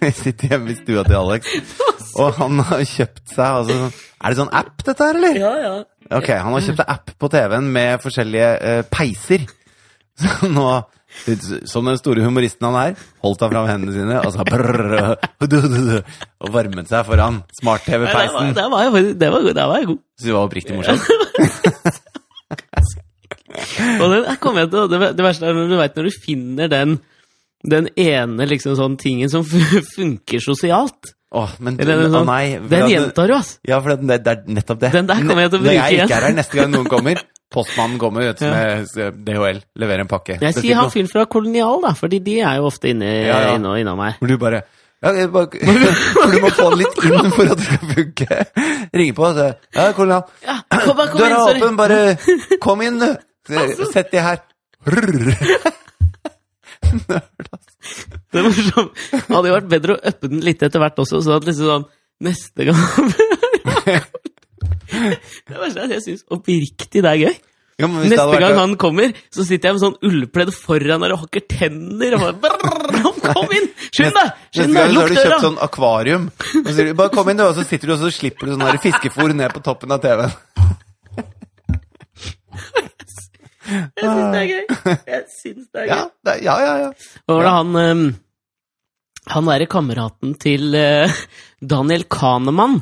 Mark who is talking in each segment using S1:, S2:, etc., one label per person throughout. S1: Jeg sitter hjemme i stua til Alex, og han har kjøpt seg altså, Er det sånn app, dette her, eller?
S2: Ja, ja.
S1: Ok, han har kjøpt en app på TV-en med forskjellige eh, peiser. Så nå, som den store humoristen han er, holdt han fram hendene sine og sa brrr, og du, du, du, og varmet seg
S2: Nei,
S1: foran
S2: der var,
S1: smart-TV-peisen.
S2: der var jeg, faktisk- der var, der var jeg god.
S1: Så det var oppriktig morsomt.
S2: Og den, her kommer jeg til, å- det, ver- det verste er når du vet når du finner den, den ene liksom sånn tingen som fun- funker sosialt.
S1: Åh, men du,
S2: Eller, den
S1: å
S2: sånn,
S1: nei. for
S2: den
S1: at-
S2: gjentar du, ass.
S1: Ja, for det, det er nettopp det.
S2: Den der kommer jeg til å
S1: Når
S2: bruke
S1: jeg
S2: igjen.
S1: ikke er her neste gang noen kommer, postmannen kommer vet, du, med DHL, leverer en pakke.
S2: Jeg
S1: Det
S2: sier
S1: sitter
S2: han fyren fra Kolonial, da, fordi de er jo ofte inne,
S1: Ja, ja.
S2: inne, innom meg.
S1: Hvor du bare ja, jeg bare, For du må få den litt inn for at det skal funke. Ringe på og si Ja, kolonial.
S2: Ja, kom, bare kom
S1: Døra er
S2: inn, sorry.
S1: åpen, bare kom inn, du. Sett deg her. Rrr.
S2: Det var sånn, det hadde jo vært bedre å uppe den litt etter hvert også, så at liksom sånn neste gang Det verste er at jeg syns oppriktig det er gøy.
S1: Jo, men hvis det
S2: Neste
S1: hadde vært-
S2: gang han kommer, så sitter jeg med sånn ullpledd foran der og hakker tenner og bare brrr, han, Kom inn! Skynd deg!
S1: Neste
S2: Skynd deg!
S1: gang så har
S2: Lukk
S1: du kjøpt
S2: døra!
S1: sånn akvarium. Og så sier du, bare kom inn, du, og så sitter du og så slipper du sånn der fiskefôr ned på toppen av TV-en.
S2: Jeg syns det er gøy. Jeg synes det er gøy.
S1: Ja, det, er- ja, ja. ja.
S2: Hva var det han ehm, Han derre kameraten til eh, Daniel Kahneman.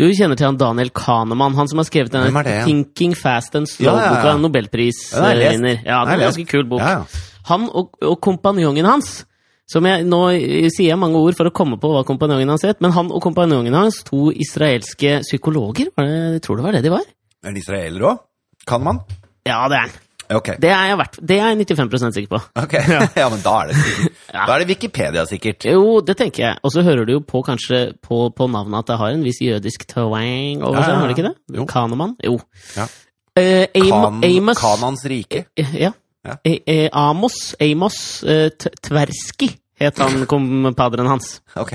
S2: Du kjenner til han Daniel Kahneman, han som har skrevet
S1: Hvem er
S2: denne
S1: det igjen?
S2: 'Thinking Fast and
S1: Ja, ja, ja.
S2: Slow'-boka.
S1: Den har jeg lest.
S2: Nobelprisvinner. eh, Ja,
S1: Den
S2: det
S1: har
S2: er en
S1: jeg
S2: ganske kul bok.
S1: ja, ja.
S2: Han og, og kompanjongen hans som jeg, Nå eh, sier jeg mange ord for å komme på hva kompanjongen hans het, men han og kompanjongen hans, to israelske psykologer, var det, jeg tror det var det de var?
S1: Er det israelere òg? Kan man?
S2: Ja, det er han.
S1: Ok.
S2: Det er jeg, i hvert fall- det er jeg 95 sikker på.
S1: ok. Ja. men da er det sikkert. Da er det Wikipedia, sikkert.
S2: Jo, det tenker jeg. Og så hører du jo på kanskje på, på navnet at det har en viss jødisk twang over
S1: Ja,
S2: seg,
S1: ja, ja.
S2: har det ikke det?
S1: Jo.
S2: Kahneman? Jo.
S1: Ja.
S2: Eh, Am
S1: Kan,
S2: Amos
S1: Kanans rike.
S2: Ja.
S1: Ja.
S2: Eh, eh, Amos, Amos eh, T- Tversky het han kompaderen hans.
S1: Ok.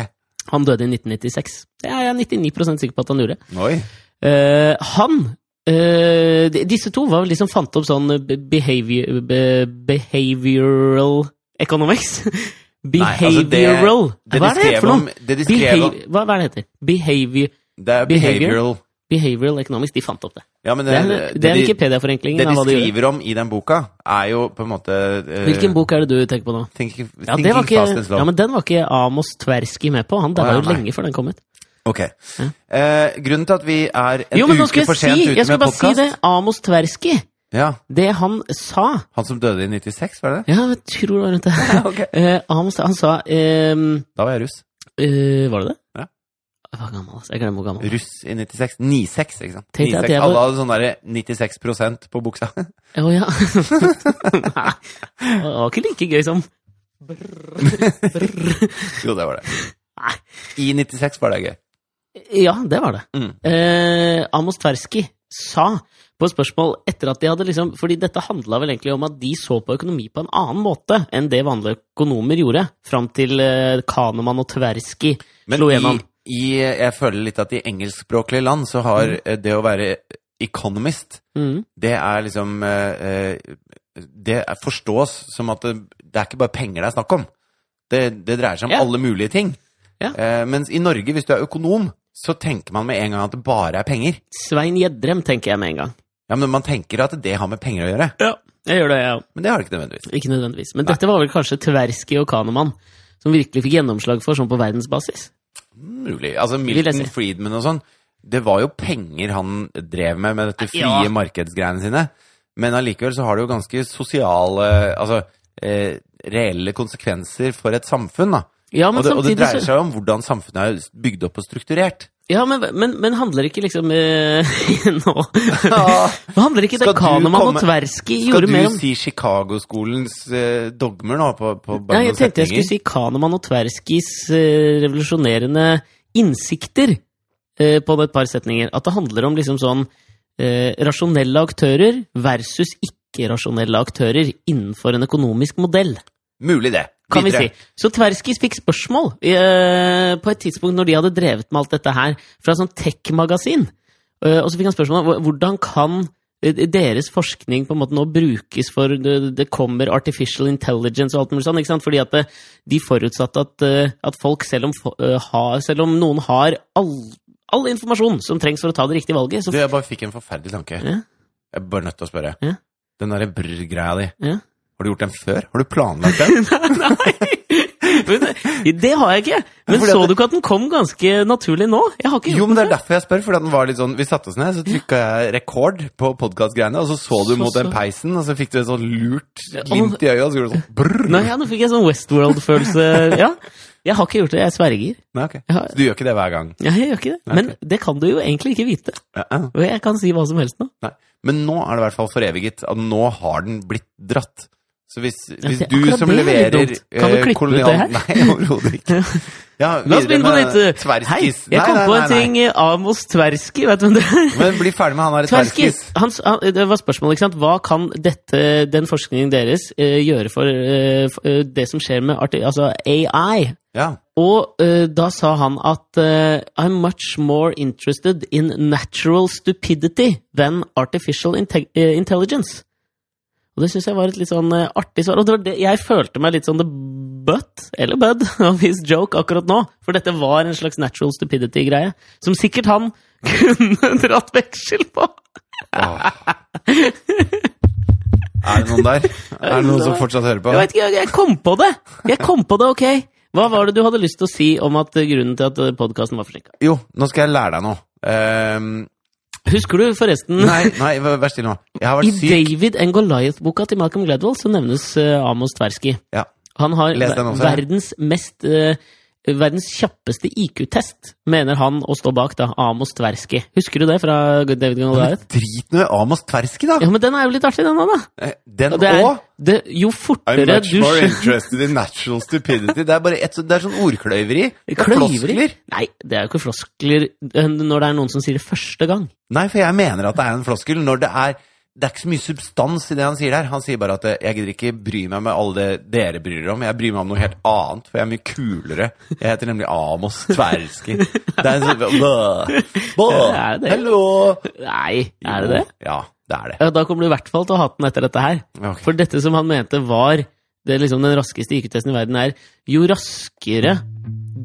S2: Han døde i 1996. Det er jeg 99 sikker på at han gjorde.
S1: Oi.
S2: Eh, han eh, de- Disse to var vel de som fant opp sånn eh, be- behavior, be, behavioral economics.
S1: Nei, altså det-
S2: Behavioral
S1: Det
S2: Hva
S1: de
S2: er det
S1: skrev
S2: for noe?
S1: om, det de skrev om
S2: Behav- hva, hva er det heter? Behavior,
S1: Det er
S2: Behavior?
S1: behavioral
S2: behavioral economics, de fant opp det.
S1: Ja, men
S2: Det
S1: det,
S2: er,
S1: det,
S2: det er
S1: de,
S2: Wikipedia-forenklingen.
S1: det
S2: av
S1: de
S2: hva de gjør.
S1: skriver om i den boka, er jo på en måte eh,
S2: Hvilken bok er det du tenker på nå?
S1: Think,
S2: Ja, det
S1: thinking
S2: var ikke,
S1: fast and slow.
S2: ja, men Den var ikke Amos Tversky med på. Han
S1: Å,
S2: daua
S1: ja,
S2: jo
S1: nei.
S2: lenge før den kom ut.
S1: Ok. Eh, grunnen til at vi er en
S2: Jo, men nå
S1: uke
S2: skal jeg
S1: for
S2: si
S1: sent ute
S2: Jeg skal
S1: med
S2: bare si
S1: podkast
S2: det! Amos Tversky,
S1: ja,
S2: det han sa
S1: Han som døde i 96, var det det?
S2: Ja, jeg tror det var rundt det.
S1: ok.
S2: Eh, Amos, han sa ehm,
S1: Da var jeg russ.
S2: eh, Var det det?
S1: Ja.
S2: Jeg var gammel, altså. Jeg glemmer hvor gammel.
S1: Russ i 96. 96, ikke sant?
S2: Tenkte jeg at
S1: 96.
S2: jeg var-
S1: Alle hadde sånn derre 96 på buksa.
S2: Å ja. Nei. Det var ikke like gøy som
S1: jo, det var det.
S2: Nei.
S1: I 96 var det gøy.
S2: Ja, det var det.
S1: Mm.
S2: Eh, Amos Tversky sa på spørsmål etter at de hadde liksom Fordi dette handla vel egentlig om at de så på økonomi på en annen måte enn det vanlige økonomer gjorde, fram til eh, Kahneman og Tversky
S1: Men
S2: slo
S1: i,
S2: gjennom.
S1: i, jeg føler litt at i engelskspråklige land så har eh, det å være economist,
S2: Mm.
S1: det er liksom eh, eh, Det er, forstås som at det, det er ikke bare penger det er snakk om. Det, det dreier seg om
S2: Ja.
S1: alle mulige ting.
S2: Ja.
S1: Eh, mens i Norge, hvis du er økonom, så tenker man med en gang at det bare er penger.
S2: Svein Gjedrem, tenker jeg med en gang.
S1: Ja, Men man tenker at det har med penger å gjøre.
S2: Ja, jeg gjør det, jeg òg.
S1: Men det har det ikke nødvendigvis.
S2: Ikke nødvendigvis. Men dette var vel kanskje Tversky og Kahneman som virkelig fikk gjennomslag for, sånn på verdensbasis.
S1: Mulig. Altså
S2: jeg
S1: Milton
S2: si.
S1: Friedman og sånn, det var jo penger han drev med med dette frie
S2: Ja.
S1: markedsgreiene sine. Men allikevel så har det jo ganske sosiale, altså eh, reelle konsekvenser for et samfunn, da.
S2: Ja, men
S1: og, det, og det
S2: samtidig så-
S1: dreier seg jo om hvordan samfunnet er bygd opp og strukturert.
S2: Ja, men, men, men handler ikke liksom eh, Nå
S1: Ja.
S2: Handler ikke det
S1: Skal du
S2: Kahneman
S1: komme-
S2: og Tversky
S1: Skal
S2: gjorde
S1: du
S2: mer om
S1: si Chicago-skolens eh, dogmer nå, på, på bare
S2: Nei, jeg
S1: noen
S2: tenkte jeg
S1: setninger?
S2: skulle si Kahneman og Tverskis eh, revolusjonerende innsikter eh, på et par setninger. At det handler om liksom sånn eh, rasjonelle aktører versus ikke-rasjonelle aktører innenfor en økonomisk modell.
S1: Mulig det.
S2: kan vi si.
S1: Videre.
S2: Så Tverskis fikk spørsmål eh, på et tidspunkt når de hadde sånn drevet med alt dette her, fra et sånt tech-magasin. Eh, og så fikk han spørsmål om hvordan kan eh, deres forskning på en måte nå brukes for Det, det kommer artificial intelligence og alt mulig sånn, ikke sant? Fordi at eh, de forutsatte at, eh, at folk, selv om, fo- eh, har, selv om noen har all, all informasjon som trengs for å ta det riktige valget, så
S1: Du, jeg bare fikk en forferdelig tanke.
S2: Ja.
S1: Jeg er bare nødt til å spørre.
S2: Ja.
S1: Den derre brr-greia di,
S2: Ja.
S1: har du gjort den før? Har du planlagt den?
S2: Men det, det har jeg ikke! Men
S1: Fordi at
S2: så
S1: det-
S2: du ikke at den kom ganske naturlig nå? Jeg har ikke
S1: jo, men det er derfor jeg spør, fordi at den var litt sånn Vi satte oss ned, så trykka jeg rekord på podkastgreiene, og så så du
S2: Så,
S1: mot
S2: så.
S1: den peisen, og så fikk du et sånn lurt
S2: og-
S1: glimt i øyet, og så gjorde du sånn brr.
S2: Nei, ja, nå fikk jeg sånn Westworld-følelse. Ja, jeg har ikke gjort det, jeg sverger.
S1: Nei, ok.
S2: Ja.
S1: Så du gjør ikke det hver gang?
S2: Ja, Jeg gjør ikke det. Men det kan du jo egentlig ikke vite.
S1: Ja, ja.
S2: Og jeg kan si hva som helst nå.
S1: Nei. Men nå er det i hvert fall foreviget at nå har den blitt dratt. Så hvis, hvis
S2: det-
S1: du
S2: akkurat
S1: som
S2: det er litt
S1: leverer
S2: dumt. Kan du
S1: eh,
S2: klippe ut
S1: kolonial-
S2: det her?
S1: Nei, overhodet ikke. Ja,
S2: La oss
S1: videre
S2: begynne på
S1: med
S2: nytt. Hei,
S1: Tverskis.
S2: jeg
S1: Nei,
S2: kom
S1: nei,
S2: på
S1: nei,
S2: en
S1: nei.
S2: ting. Amos Tversky, vet du hvem det er?
S1: Men bli ferdig med han her Tverskis.
S2: Tversky! Han, s- han, det var spørsmålet, ikke sant. Hva kan dette, den forskningen deres eh, gjøre for, eh, for eh, det som skjer med arti altså AI?
S1: Ja.
S2: Og eh, da sa han at eh, I'm much more interested in natural stupidity than artificial inte eh, intelligence. Og det syns jeg var et litt sånn eh, artig svar. Og det var det, jeg følte meg litt sånn the butt, eller bud, of his joke akkurat nå. For dette var en slags natural stupidity-greie, som sikkert han kunne dratt veksel på.
S1: Åh. Er det noen der? Er det noen som fortsatt hører på?
S2: Jeg vet ikke, jeg- jeg kom på det! Jeg kom på det, ok. Hva var det du hadde lyst til å si om at eh, grunnen til at podkasten var forsinka?
S1: Jo, nå skal jeg lære deg noe. Ehm,
S2: Husker du forresten
S1: nei, nei, vær stille nå. Jeg har
S2: I
S1: vært syk.
S2: David and Goliath-boka til Malcolm Gladwell så nevnes eh, Amos Tversky.
S1: Ja.
S2: Han har
S1: Les den også, ja.
S2: verdens mest eh, Verdens kjappeste IQ-test, mener han å stå bak, da. Amos Tversky. Husker du det fra David and Goliath?
S1: Drit nå i Amos Tversky, da!
S2: Ja, men den er jo litt artig, den òg, da.
S1: Eh, Den
S2: Og det er,
S1: òg!
S2: det, jo
S1: I'm
S2: fortere
S1: much
S2: du
S1: more
S2: skjø-
S1: interested in natural stupidity. Det er bare et, sånt- det er sånn ordkløyveri. Det er
S2: Kløyveri?
S1: floskler.
S2: Nei, det er jo ikke floskler eh, når det er noen som sier det første gang.
S1: Nei, for jeg mener at det er en floskel når det er det er ikke så mye substans i det han sier der. Han sier bare at eh, jeg gidder ikke bry meg med alle det dere bryr dere om. Jeg bryr meg om noe helt annet, for jeg er mye kulere. Jeg heter nemlig Amos Tversky. Det er en sånn Bå, bå,
S2: Er det det?
S1: Hallo!
S2: Nei, er det det?
S1: Ja, det er det.
S2: Ja, da kommer du i hvert fall til å hate den etter dette her.
S1: Ok.
S2: For dette som han mente var det er liksom den raskeste IQ-testen i verden, er jo raskere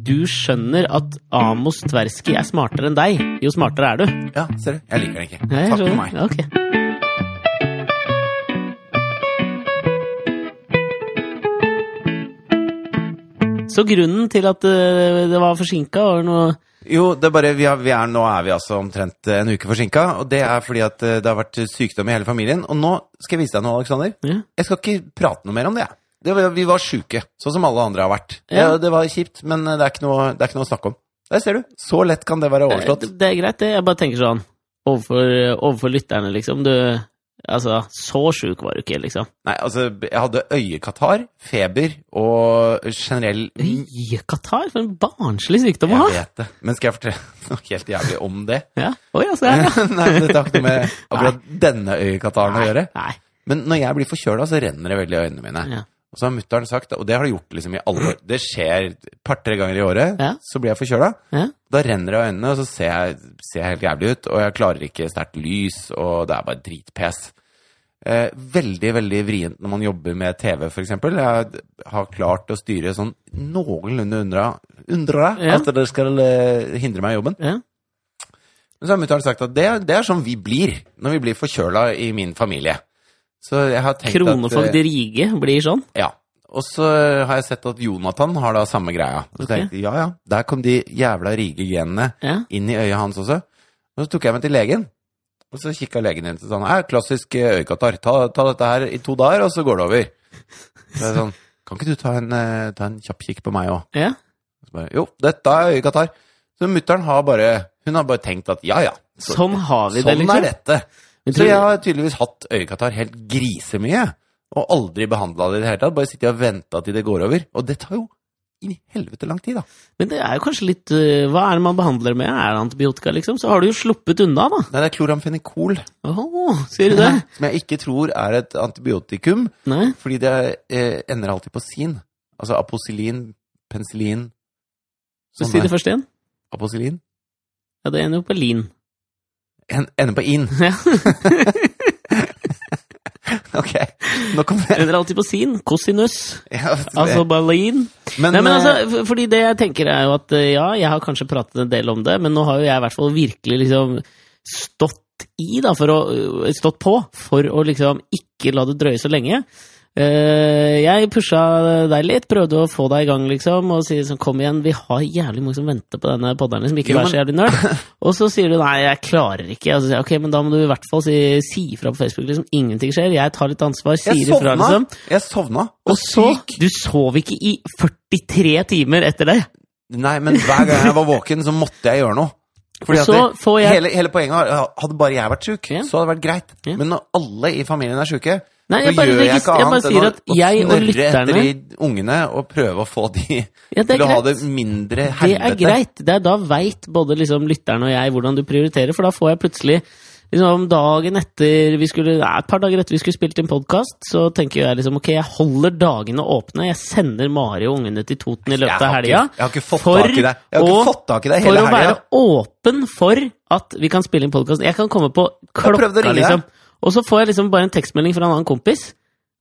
S2: du skjønner at Amos Tversky er smartere enn deg, jo smartere er du.
S1: Ja, ser du. Jeg liker den ikke.
S2: Ja, jeg
S1: Takk
S2: skjønner.
S1: for meg.
S2: Ja, ok. Så grunnen til at eh, det var forsinka, var noe
S1: Jo, det er bare, vi er, vi er, nå er vi altså omtrent eh, en uke forsinka, og det er fordi at eh, det har vært sykdom i hele familien. Og nå skal jeg vise deg noe, Alexander.
S2: ja.
S1: Jeg skal ikke prate noe mer om det. jeg. det var, vi var sjuke, sånn som alle andre har vært.
S2: Ja.
S1: Det, det var kjipt, men eh, det er, ikke noe, det er ikke noe å snakke om. Der ser du. Så lett kan det være overstått.
S2: Det, det er greit, det. Jeg bare tenker sånn overfor, eh, overfor lytterne, liksom. Du Altså, så sjuk var du ikke, liksom.
S1: Nei, altså, jeg hadde øyekatarr, feber og generell
S2: Øyekatarr? For en barnslig sykdom å
S1: Jeg
S2: ha!
S1: vet Mm. det. Men skal jeg fortelle noe helt jævlig om det?
S2: Ja. Oi, altså,
S1: Nei,
S2: ja.
S1: men det har ikke noe med akkurat denne øyekataren å gjøre.
S2: Nei.
S1: Men når jeg blir forkjøla, så renner det veldig i øynene mine.
S2: Ja.
S1: Og så har mutter'n sagt, og det har det gjort liksom i alle år Det skjer et par-tre ganger i året,
S2: Ja.
S1: så blir jeg forkjøla.
S2: Ja.
S1: Da renner det i øynene, og så ser jeg, ser jeg helt jævlig ut, og jeg klarer ikke sterkt lys, og det er bare dritpes. Eh, veldig, veldig vrient når man jobber med TV, for eksempel. Jeg har klart å styre sånn noenlunde undra, undra
S2: Ja.
S1: at det skal eh, hindre meg i jobben.
S2: Ja.
S1: Men så har mutter'n sagt at det, er- det er sånn vi blir når vi blir forkjøla i min familie. Så jeg har tenkt at
S2: Kronefogd
S1: eh,
S2: Rige blir sånn.
S1: Ja. Og så har jeg sett at Jonathan har da samme greia. Så
S2: Ok.
S1: tenkte jeg, ja ja, der kom de jævla rige-genene
S2: Ja.
S1: inn i øyet hans også. Og så tok jeg meg til legen, og så kikka legen inn og sa sånn, «Eh, klassisk eh, øyekatarr, ta, ta dette her i to dager, og så går det over. Så jeg sånn, kan ikke du ta en, eh, ta en kjapp kikk på meg òg?
S2: ja.
S1: Så bare, jo, dette er øyekatarr. Så mutter'n har bare Hun har bare tenkt at ja ja, så,
S2: Sånn har vi det,
S1: sånn er
S2: liksom.
S1: dette.
S2: Men
S1: Så
S2: tror-
S1: jeg har tydeligvis hatt øyekatarr helt grisemye, og aldri behandla det i det hele tatt. Bare sittet og venta til det går over. Og det tar jo inn i helvete lang tid, da.
S2: Men det er jo kanskje litt eh, Hva er det man behandler med? Er det antibiotika, liksom? Så har du jo sluppet unna, da.
S1: Nei, det er kloramfenikol,
S2: Åh, sier du det?
S1: som jeg ikke tror er et antibiotikum,
S2: Nei?
S1: fordi det eh, ender alltid på sin. Altså aposilin, penicillin
S2: Så si det
S1: Sånn er.
S2: først igjen.
S1: Aposilin?
S2: Ja, det ender jo på lin.
S1: En, ender på in.
S2: Ja.
S1: ok. Nok om det.
S2: Eller alltid på sin. Cosinus.
S1: Ja, det-
S2: Altså Berlin.
S1: men,
S2: Nei, men
S1: eh,
S2: altså, f- fordi det jeg tenker er jo at eh, ja, jeg har kanskje pratet en del om det, men nå har jo jeg i hvert fall virkelig liksom stått i, da, for å øh, Stått på for å liksom ikke la det drøye så lenge. Eh, jeg pusha deg litt, prøvde å få deg i gang, liksom, og si sånn kom igjen, vi har jævlig mange som venter på denne podderen, som ikke
S1: Jo,
S2: er så jævlig nerd. Og så sier du nei, jeg klarer ikke. Og så sier jeg, ok, men da må du i hvert fall si, si fra på Facebook, liksom. Ingenting skjer, jeg tar litt ansvar, sier
S1: jeg
S2: ifra,
S1: sovna.
S2: liksom.
S1: Jeg sovna.
S2: Og så
S1: syk.
S2: Du sov ikke i 43 timer etter det!
S1: Nei, men hver gang jeg var våken, så måtte jeg gjøre noe. Fordi
S2: Og
S1: at
S2: så
S1: det,
S2: får jeg
S1: hele, hele poenget var hadde bare jeg vært sjuk,
S2: Ja.
S1: så hadde det vært greit.
S2: Ja.
S1: Men når alle i familien er sjuke,
S2: Nei,
S1: så
S2: jeg bare,
S1: gjør jeg
S2: regist-
S1: ikke
S2: jeg bare
S1: annet
S2: sier
S1: enn å,
S2: at jeg
S1: å
S2: og
S1: snørre etter
S2: lytterne
S1: de ungene og prøve å få de
S2: ja, det, er
S1: til å ha
S2: greit.
S1: det mindre
S2: det er
S1: helvete.
S2: greit. Det er da veit både liksom lytterne og jeg hvordan du prioriterer, for da får jeg plutselig liksom dagen etter vi skulle, nei, Et par dager etter vi skulle spilt inn podkast, så tenker jeg liksom ok, jeg holder dagene åpne. Jeg sender Mari og ungene til Toten i
S1: Jeg
S2: løpet av
S1: har, ikke,
S2: helga.
S1: jeg har ikke fått
S2: for
S1: tak i deg Jeg har
S2: å-
S1: ikke fått tak i deg
S2: For
S1: hele
S2: å
S1: helga.
S2: være åpen for at vi kan spille inn podkast. Jeg kan komme på
S1: har prøvd å
S2: klokka,
S1: ringe deg.
S2: liksom. Og så får jeg liksom bare en tekstmelding fra en annen kompis,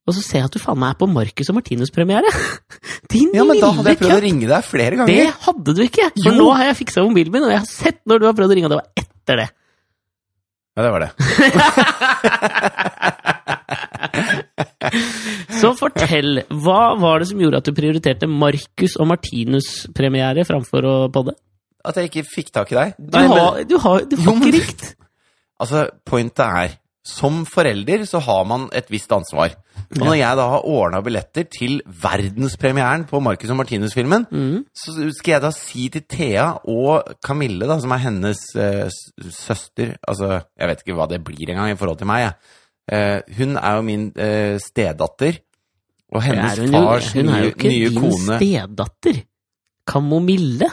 S2: og så ser jeg at du faen meg er på Marcus og Martinus-premiere! Din
S1: Ja, men da hadde
S2: lille
S1: jeg prøvd å
S2: kødd!
S1: ringe deg flere
S2: Det
S1: ganger.
S2: hadde du ikke! For
S1: Jo.
S2: nå har jeg fiksa mobilen min, og jeg har sett når du har prøvd å ringe, og det var etter det.
S1: Ja, det var det.
S2: Så fortell, hva var det som gjorde at du prioriterte Marcus og Martinus-premiere framfor å podde?
S1: At jeg ikke fikk tak i deg.
S2: Du
S1: Nei, men-
S2: har, du har, du
S1: Jo,
S2: har
S1: men-
S2: ikke rikt!
S1: Altså, pointet er som forelder så har man et visst ansvar. Og når jeg da har ordna billetter til verdenspremieren på Marcus og Martinus-filmen,
S2: Mm.
S1: så skal jeg da si til Thea og Camille, da, som er hennes eh, s- søster Altså, jeg vet ikke hva det blir engang i forhold til meg, jeg. Eh, hun er jo min eh, stedatter. Og hennes
S2: Er hun, jo,
S1: fars
S2: hun er jo
S1: nye,
S2: ikke
S1: nye
S2: din
S1: kone
S2: stedatter. Kamomille?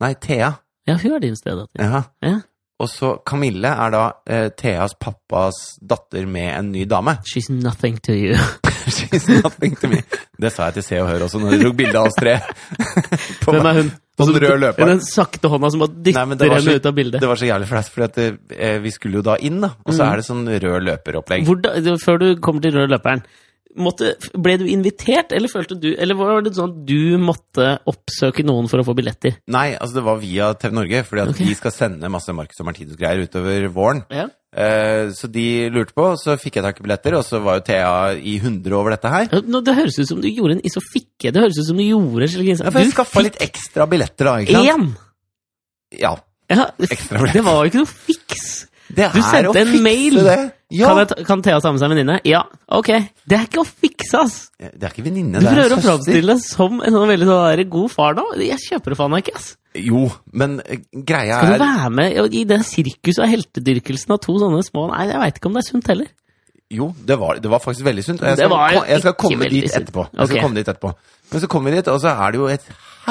S1: Nei, Thea.
S2: Ja, hun er din stedatter.
S1: Ja.
S2: Ja.
S1: Og så Camille er da eh, Theas pappas datter med en ny dame.
S2: She's nothing to you.
S1: She's nothing to me. Det sa jeg til Se og Hør også, når de tok bilde av oss tre. På
S2: Hvem er hun?
S1: På den røde
S2: Hun er
S1: løperen.
S2: Den sakte hånda som bare
S1: Nei, men det
S2: dytter
S1: var
S2: henne
S1: så-
S2: ut av bildet.
S1: Det var så jævlig flaut, for vi skulle jo da inn, da. Og så
S2: Mhm.
S1: er det sånn rød løperopplegg.
S2: Hvordan, det- før du kommer til røde løperen, måtte, ble du invitert, eller følte du Eller var det sånn at du måtte oppsøke noen for å få billetter?
S1: Nei, altså det var via TV Norge, fordi at
S2: Ok.
S1: de skal sende masse Marcus og Martinus-greier utover våren.
S2: Ja.
S1: Eh, så de lurte på, så fikk jeg tak i billetter, og så var jo Thea i 100 over dette her.
S2: Nå, det høres ut som du gjorde en isofikke. Det høres ut som du gjorde slik,
S1: Ja, for jeg
S2: Du
S1: skaffa litt ekstra billetter, da. ikke sant?
S2: én!
S1: Ja,
S2: Ja,
S1: ekstra billetter.
S2: det var jo ikke noe fiks!
S1: Det er
S2: Du sendte
S1: å
S2: en
S1: fikse
S2: mail.
S1: Det. Ja.
S2: Kan, jeg, ta- kan Thea ta med seg en venninne? Ja, ok. Det er ikke å fikse, ass!
S1: Det er ikke venninne,
S2: Du
S1: det er
S2: prøver å
S1: en søster.
S2: framstille deg som en sånn veldig sånn der god far nå. Jeg kjøper det faen meg ikke, ass.
S1: Jo, men eh, greia
S2: Skal du
S1: er
S2: være med i- i det sirkuset av heltedyrkelsen av to sånne små Nei, jeg veit ikke om det er sunt heller.
S1: Jo, det var, det var faktisk veldig sunt. og Jeg
S2: Det
S1: skal,
S2: var jo
S1: ko- jeg skal
S2: ikke
S1: komme
S2: veldig
S1: dit
S2: sunt.
S1: etterpå. Jeg skal
S2: Ok.
S1: komme dit etterpå. Men så kommer vi dit, og så er det jo et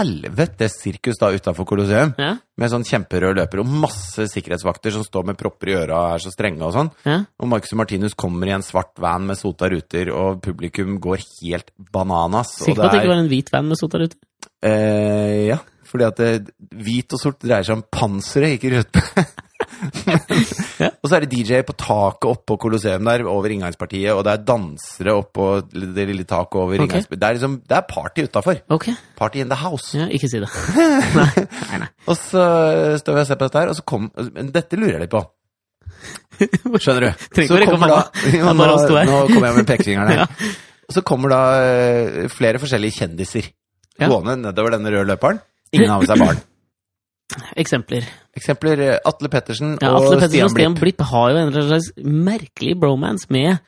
S1: helvetes sirkus da utafor Colosseum.
S2: Ja,
S1: Med sånn kjemperød løper og masse sikkerhetsvakter som står med propper i øra og er så strenge og sånn.
S2: ja.
S1: Og Marcus og Martinus kommer i en svart van med sota ruter, og publikum går helt bananas.
S2: Sikker på
S1: og
S2: at det ikke var en hvit van med sot der ute?
S1: eh, Ja, fordi at det, hvit og sort dreier seg om panseret, ikke rødt.
S2: Ja.
S1: Og så er det DJ på taket oppå Colosseum der, over inngangspartiet, og det er dansere oppå det lille taket over
S2: Ok.
S1: inngangspartiet. Det er liksom, det er party utafor.
S2: Ok,
S1: Party in the house.
S2: ja, ikke si det.
S1: Og så står vi og ser på dette her, og så kom Men dette lurer jeg litt på. Skjønner du?
S2: Trenger ikke
S1: Så
S2: å rekke
S1: kommer
S2: opp
S1: da- Jo,
S2: Det er
S1: nå,
S2: bare oss to her.
S1: nå kommer jeg med pekefingeren her.
S2: Ja.
S1: Og så kommer da eh, flere forskjellige kjendiser
S2: Ja.
S1: gående nedover denne røde løperen. Ingen har med seg barn.
S2: Eksempler.
S1: Eksempler eh, Atle Pettersen
S2: Ja,
S1: og
S2: Atle Pettersen og Stian
S1: Stian Blipp.
S2: Blipp har jo en eller annen slags merkelig bromance med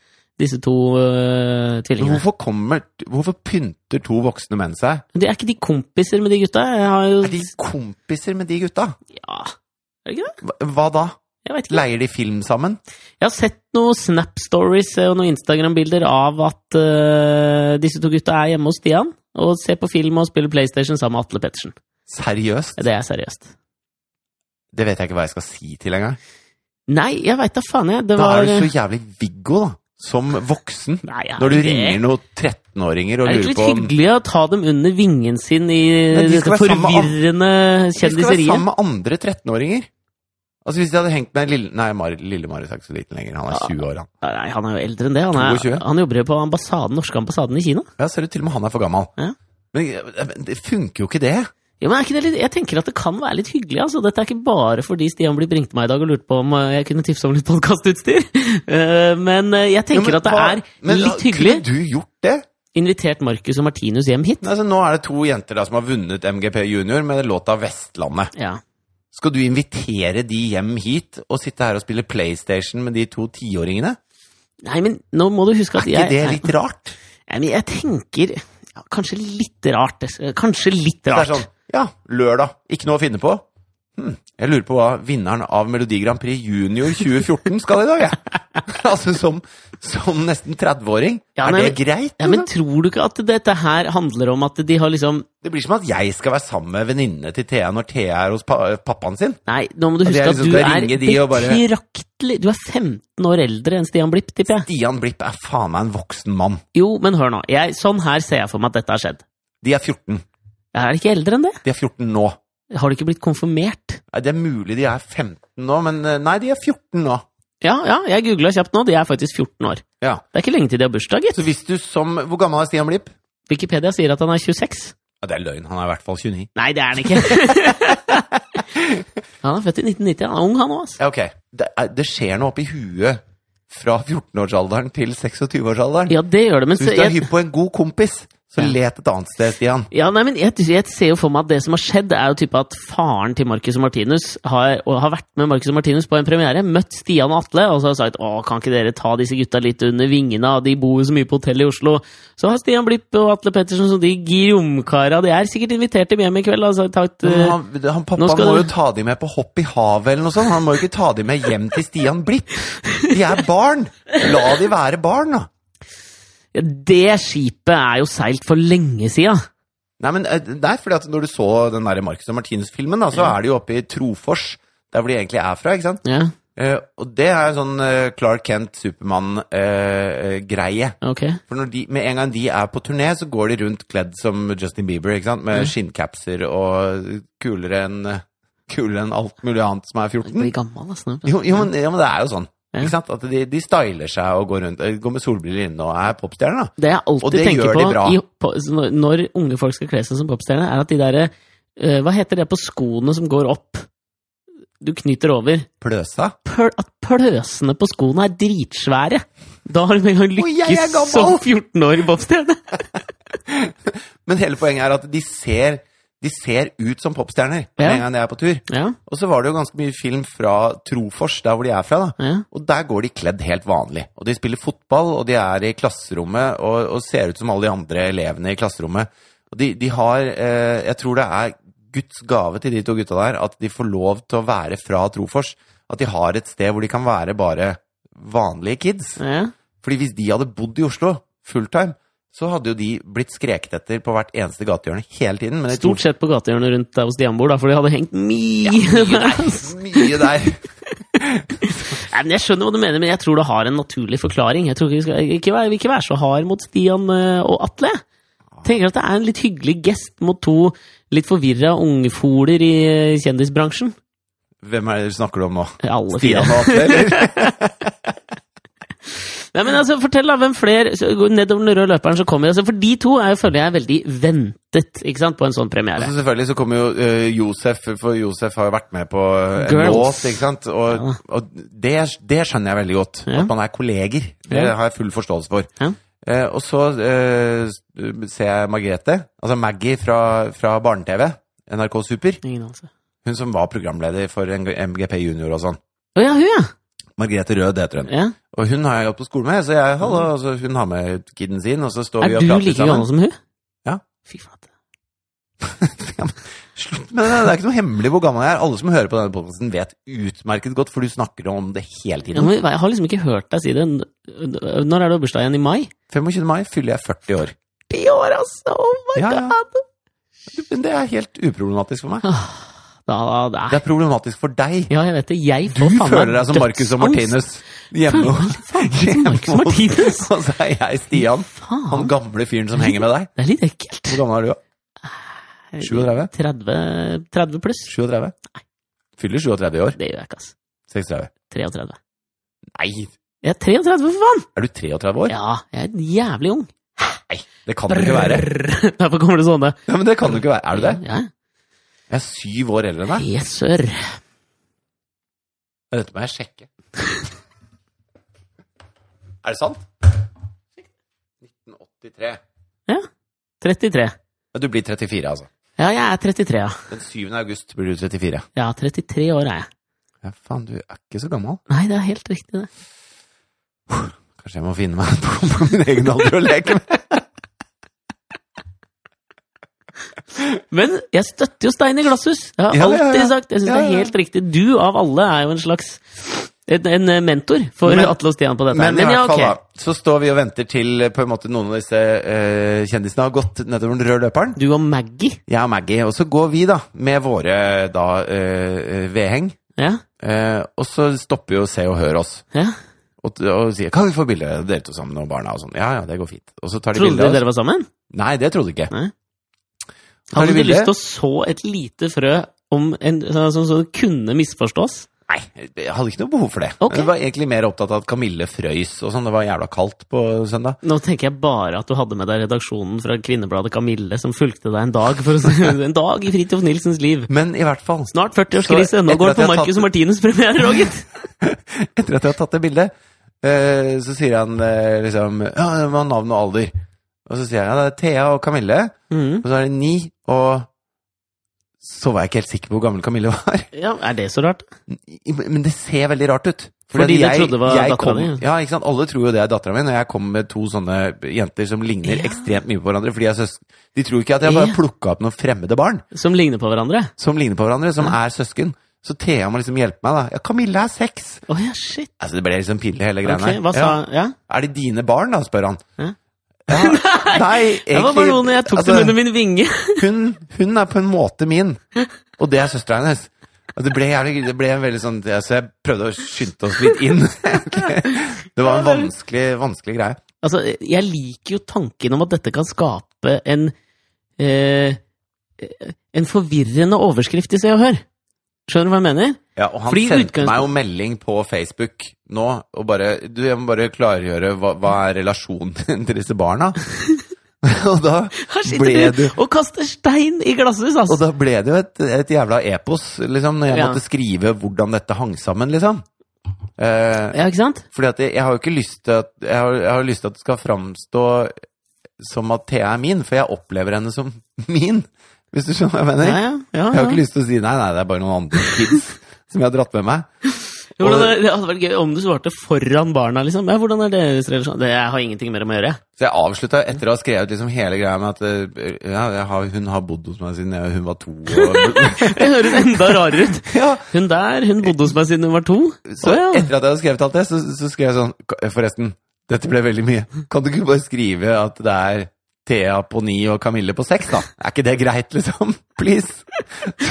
S2: disse to øh, tvillingene.
S1: Hvorfor, kommer, hvorfor pynter to voksne menn seg?
S2: Men det er ikke de kompiser med de gutta? Jeg har jo
S1: Er de kompiser med de gutta?
S2: Ja, er det ikke det?
S1: Hva, hva da?
S2: Jeg vet ikke.
S1: Leier de film sammen?
S2: Jeg har sett noen Snap Stories og noen Instagram-bilder av at eh, disse to gutta er hjemme hos Stian og ser på film og spiller PlayStation sammen med Atle Pettersen.
S1: Seriøst?
S2: Det er seriøst.
S1: Det vet jeg ikke hva jeg skal si til engang.
S2: Nei, jeg veit da faen, jeg. Det
S1: Da
S2: var eh,
S1: er du så jævlig Viggo, da. Som voksen.
S2: Nei, jeg er
S1: Når du
S2: ikke det.
S1: ringer noen 13-åringer og
S2: Er det ikke
S1: lurer
S2: litt
S1: på om
S2: hyggelig å ta dem under vingen sin i
S1: Nei, de
S2: dette
S1: skal være sammen med an-
S2: forvirrende
S1: De skal være
S2: kjendiseriet?
S1: sammen med andre 13-åringer. Altså Hvis de hadde hengt med Lille Nei, Mar Lille Marius er ikke så liten lenger. Han er
S2: Ja.
S1: 20 år, han.
S2: Nei, han er jo eldre enn det. Han, er,
S1: 22.
S2: han jobber jo på ambassaden, norske ambassaden i Kina.
S1: Ja, ser du, til og med han er for gammel.
S2: Ja.
S1: Men eh, men det funker jo ikke det.
S2: Jo, men er ikke det litt, jeg tenker at det kan være litt hyggelig. Altså. Dette er ikke bare fordi Stian Blipp ringte meg i dag og lurte på om eh, jeg kunne tipse om litt podkastutstyr. Men eh, jeg
S1: Jo,
S2: tenker
S1: men
S2: at det
S1: hva-
S2: er
S1: men, ja,
S2: litt hyggelig.
S1: Kunne du gjort det?
S2: Invitert Marcus og Martinus hjem hit.
S1: Altså, nå er det to jenter da som har vunnet MGP Junior med låta 'Vestlandet'.
S2: Ja.
S1: Skal du invitere de hjem hit og sitte her og spille PlayStation med de to tiåringene?
S2: Nei, men nå må du huske at
S1: Er
S2: jeg
S1: ikke det litt rart?
S2: Nei, men jeg tenker ja, Kanskje litt rart. eh, Kanskje litt
S1: Det er
S2: rart.
S1: sånn Ja, lørdag. Ikke noe å finne på. Hm, jeg lurer på hva vinneren av Melodi Grand Prix Junior 2014 skal i dag, jeg. altså som, som nesten 30-åring.
S2: Ja,
S1: er
S2: nei,
S1: det greit?
S2: Ja, men
S1: liksom?
S2: tror du ikke at dette her handler om at de har liksom
S1: Det blir som at jeg skal være sammen med venninnene til Thea når Thea er hos pa eh, pappaen sin.
S2: Nei, nå må du
S1: At
S2: huske
S1: jeg
S2: at du
S1: liksom skal
S2: er
S1: ringe de og bare-
S2: betraktelig Du er 15 år eldre enn Stian Blipp, tipper jeg.
S1: Stian Blipp er faen meg en voksen mann.
S2: Jo, men hør nå. Jeg, sånn her ser jeg for meg at dette har skjedd.
S1: De er 14.
S2: Jeg er ikke eldre enn det.
S1: De er 14 nå.
S2: Har du ikke blitt konfirmert?
S1: Nei, Det er mulig de er 15 nå, men eh, nei, de er 14 nå.
S2: Ja, ja, jeg googla kjapt nå. De er faktisk 14 år.
S1: Ja.
S2: Det er ikke lenge til de har bursdag, gitt.
S1: Så hvis du som Hvor gammel er Stian Blipp?
S2: Wikipedia sier at han er 26.
S1: Ja, Det er løgn. Han er i hvert fall 29.
S2: Nei, det er han ikke. han er født i 1990. Han er ung, han òg, altså.
S1: Ja, ok. Det, er, det skjer noe oppi huet fra 14-årsalderen til 26-årsalderen.
S2: Ja, det gjør det, men
S1: Så hvis
S2: så
S1: du er
S2: jeg,
S1: hypp på en god kompis, så
S2: Ja.
S1: let et annet sted, Stian.
S2: ja, nei, men jeg, jeg ser jo for meg at det som har skjedd, er jo type at faren til Marcus og Martinus har, og har vært med Marcus og Martinus på en premiere, møtt Stian og Atle, og så har sagt å, kan ikke dere ta disse gutta litt under vingene, og de bor jo så mye på hotell i Oslo. Så har Stian Blipp og Atle Pettersen, som de gromkara, de er sikkert invitert dem hjem i kveld. Altså, tatt,
S1: Men Han, han, pappa
S2: nå skal
S1: må
S2: du-
S1: jo ta de med på hopp i havet eller noe sånt. Han må jo ikke ta de med hjem til Stian Blipp. De er barn! La de være barn, da.
S2: Ja, Det skipet er jo seilt for lenge sida.
S1: Nei, men eh, nei, fordi at når du så den der Marcus og Martinus-filmen, da, så er de jo oppe i Trofors, der hvor de egentlig er fra, ikke sant?
S2: Ja,
S1: Eh, og det er sånn eh, Clark eh, Kent, Supermann-greie.
S2: ok.
S1: For når de, med en gang de er på turné, så går de rundt kledd som Justin Bieber, ikke sant?
S2: Mm.
S1: Med skinncapser og kulere enn kulere enn alt mulig annet som er 14.
S2: Blir gammel, altså. nå.
S1: Jo, jo, men, jo, men det er jo sånn.
S2: Ja.
S1: Ikke sant? At de, de styler seg og går rundt, eh, går med solbriller inne og er popstjerner, da.
S2: Det jeg
S1: Og
S2: alltid
S1: det
S2: tenker
S1: gjør de
S2: på,
S1: bra.
S2: i, på så når- når unge folk skal kle seg som popstjerne, er at de derre eh, Hva heter det på skoene som går opp? Du knyter over.
S1: Pløsa.
S2: Pøl, at pløsene på skoene er dritsvære! Da har du med en gang
S1: Å, jeg er
S2: lykkes
S1: gammel!
S2: som 14-årig popstjerne!
S1: Men hele poenget er at de ser, de ser ut som popstjerner med
S2: Ja.
S1: en gang de er på tur.
S2: Ja,
S1: Og så var det jo ganske mye film fra Trofors, der hvor de er fra, da.
S2: ja.
S1: Og der går de kledd helt vanlig. Og de spiller fotball, og de er i klasserommet og, og ser ut som alle de andre elevene i klasserommet. Og de, de har eh, Jeg tror det er Guds gave til de to gutta der at de får lov til å være fra Trofors. At de har et sted hvor de kan være bare vanlige kids.
S2: ja.
S1: Fordi hvis de hadde bodd i Oslo fulltime, så hadde jo de blitt skreket etter på hvert eneste gatehjørne hele tiden. Men jeg tror
S2: Stort sett på gatehjørnet rundt der hos Stian bor, da, for de hadde hengt mye der.
S1: mye der.
S2: Nei, men Jeg skjønner hva du mener, men jeg tror det har en naturlig forklaring. Jeg tror ikke vi skal ikke være, ikke være så hard mot Stian eh, og Atle. Tenker at det er en litt hyggelig gest mot to litt forvirra ungfoler i eh, kjendisbransjen.
S1: Hvem er det du snakker om nå?
S2: Alle fire.
S1: Stian og Atle, eller?
S2: Nei, men altså, fortell da, hvem flere så går Nedover den røde løperen så kommer vi altså, For de to er jo, føler jeg, veldig ventet ikke sant, på en sånn
S1: Og
S2: premiere.
S1: så selvfølgelig så kommer jo eh, Josef, for Josef har jo vært med på eh, en
S2: Girls.
S1: låt, ikke sant? Og, og det, det skjønner jeg veldig godt,
S2: Ja.
S1: at man er kolleger. Det
S2: Ja.
S1: har jeg full forståelse for.
S2: Ja.
S1: Eh, og så eh, ser jeg Margrethe, altså Maggie fra, fra Barne-TV, NRK Super,
S2: Ingen anelse.
S1: hun som var programleder for MGP Junior og sånn.
S2: Å ja, hun, ja!
S1: Margrethe Rød heter hun.
S2: ja.
S1: Og hun har jeg gått på skole med, så jeg, hallo, altså, hun har med kiden sin, og så står vi
S2: Er
S1: og
S2: du
S1: prater
S2: like
S1: sammen.
S2: gammel som hun?
S1: Ja.
S2: Fy flate.
S1: Slutt med det, det er ikke noe hemmelig hvor gammel jeg er. Alle som hører på denne podcasten vet utmerket godt, for du snakker om det hele
S2: Ja,
S1: tiden.
S2: men Jeg har liksom ikke hørt deg si det. Når er det bursdag igjen? I mai?
S1: 25. mai fyller jeg 40 år.
S2: Ti år, altså! Oh my
S1: Ja, ja.
S2: god!
S1: Men det er helt uproblematisk for meg.
S2: Da, da,
S1: Det er problematisk for deg.
S2: Ja, jeg vet det. Jeg
S1: Du
S2: får faen meg
S1: føler deg som Marcus og
S2: dødsangst.
S1: Martinus hjemme hos
S2: Faen, Marcus og Martinus.
S1: Og så er jeg Stian, han
S2: Faen,
S1: gamle fyren som henger med deg.
S2: det er litt ekkelt.
S1: Hvor gammel er du, da? 37?
S2: 30, 30 pluss.
S1: 37? Fyller 37 i år.
S2: Det gjør jeg ikke, ass.
S1: 36.
S2: 33.
S1: Nei!
S2: Jeg er 33, for faen!
S1: Er du 33 år?
S2: Ja, jeg er jævlig ung.
S1: Nei, det kan du ikke være.
S2: Brrr. Derfor kommer det sånne.
S1: Ja, men det kan du ikke være. Er du det?
S2: Ja.
S1: Jeg er syv år eldre enn deg.
S2: Yes, sir.
S1: Ja, Dette må jeg sjekke. Er det sant? 1983.
S2: 33.
S1: Ja, Du blir 34, altså.
S2: Ja, jeg er 33, ja.
S1: Den 7. august blir du 34.
S2: Ja, 33 år er jeg.
S1: Ja, faen, du er ikke så gammel.
S2: Nei, det er helt riktig, det.
S1: Kanskje jeg må finne meg en på, på min egen alder og leke med.
S2: Men jeg støtter jo Stein i glasshus. Jeg har
S1: Ja, ja, ja.
S2: alltid sagt Jeg syns
S1: Ja,
S2: det
S1: ja.
S2: er helt riktig. Du av alle er jo en slags en, en eh, mentor for
S1: Men-
S2: Atle og Stian på dette. her.
S1: Men i
S2: ja,
S1: hvert
S2: ok.
S1: fall, da, så står vi og venter til eh, på en måte noen av disse eh, kjendisene har gått nedover den røde løperen.
S2: Du og Maggie.
S1: Jeg og Maggie, og så går vi da med våre da eh, vedheng.
S2: Ja,
S1: Eh, og så stopper jo Se og Hør oss
S2: ja.
S1: og, og sier 'Kan vi få bilde av dere to sammen og barna?' og sånn. Ja, ja, det går fint. Og så tar de
S2: Trodde dere
S1: bilde av oss.
S2: dere var sammen?
S1: Nei, det trodde de ikke.
S2: Nei.
S1: Så tar de
S2: Hadde du
S1: bilde.
S2: lyst til å så et lite frø om en, sånn som så det kunne misforstås?
S1: Nei, jeg hadde ikke noe behov for det.
S2: Ok.
S1: Jeg var egentlig mer opptatt av at Kamille frøys og sånn. Det var jævla kaldt på søndag.
S2: Nå tenker jeg bare at du hadde med deg redaksjonen fra Kvinnebladet Kamille, som fulgte deg en dag, for å si, sånn. en dag i Fridtjof Nilsens liv.
S1: Men i hvert fall,
S2: Snart 40-årskrise. Nå
S1: Så etter
S2: går
S1: at
S2: det på
S1: jeg har
S2: Marcus
S1: tatt-
S2: og Martinus premiere, Roger.
S1: etter at jeg har tatt det bildet, eh, så sier han eh, liksom Ja, det var navn og alder. Og så sier jeg ja, det er Thea og Kamille.
S2: Mhm.
S1: Og så er det ni, og så var jeg ikke helt sikker på hvor gammel Kamille var.
S2: Ja, er det så rart?
S1: I- Men det ser veldig rart ut.
S2: Fordi
S1: at
S2: de trodde det var
S1: jeg
S2: datteren
S1: kom-
S2: din.
S1: Ja, ikke sant? Alle tror jo det er dattera mi, når jeg kommer med to sånne jenter som ligner
S2: Ja.
S1: ekstremt mye på hverandre. Fordi jeg søs De tror ikke at jeg bare
S2: Ja.
S1: plukket plukka opp noen fremmede barn
S2: Som ligner på hverandre?
S1: som ligner på hverandre, som er søsken. Så Thea må liksom hjelpe meg, da. Ja, Kamille er seks!
S2: Å ja, shit.
S1: Altså, det ble liksom pinlig, hele greia
S2: Ok, hva sa Ja?
S1: Er det dine barn, da, spør han.
S2: Hæ?
S1: Ja. Nei, egentlig
S2: Det var bare noen jeg tok
S1: altså,
S2: dem under min vinge.
S1: hun, hun er på en måte min, og det er søstera hennes. Og det ble jævlig, det ble en veldig sånn, ja, så jeg prøvde å skynde oss litt inn. Det var en vanskelig, vanskelig greie.
S2: Altså, jeg liker jo tanken om at dette kan skape en eh, En forvirrende overskrift i Se og Hør. Skjønner du hva jeg mener?
S1: Ja, og han
S2: Fordi
S1: sendte
S2: utgangs-
S1: meg jo melding på Facebook nå, og bare, du, jeg må bare klargjøre hva, hva er relasjonen din til disse barna? Og da
S2: Her
S1: ble
S2: sitter du
S1: det
S2: og kaster stein i glasshus,
S1: og
S2: altså!
S1: da ble det jo et, et jævla epos, liksom, når jeg
S2: Ja.
S1: måtte skrive hvordan dette hang sammen, liksom. Eh,
S2: Ja, ikke sant?
S1: Fordi at jeg, jeg har jo ikke lyst til at jeg har, jeg har lyst til at det skal framstå som at Thea er min, for jeg opplever henne som min, hvis du skjønner hva jeg mener?
S2: Ja, ja, ja,
S1: Jeg har
S2: ja.
S1: ikke lyst til å si nei, nei, det er bare noen andre kids som jeg har dratt med meg.
S2: Jo, Hvordan er, det hadde vært gøy om du svarte foran barna, liksom. Ja, hvordan er deres relasjon? Det jeg har ingenting med dem å gjøre.
S1: Så jeg avslutta etter å ha skrevet liksom hele greia med at eh, ja, jeg har, hun har bodd hos meg siden jeg, hun var to. Og,
S2: Det høres enda rarere ut.
S1: ja,
S2: Hun der, hun bodde hos meg siden hun var to. Å,
S1: så
S2: ja.
S1: etter at jeg hadde skrevet alt det, så, så skrev jeg sånn "Ka- Forresten, dette ble veldig mye. Kan du ikke bare skrive at det er Thea på ni og Camille på seks, da? Er ikke det greit, liksom? Please!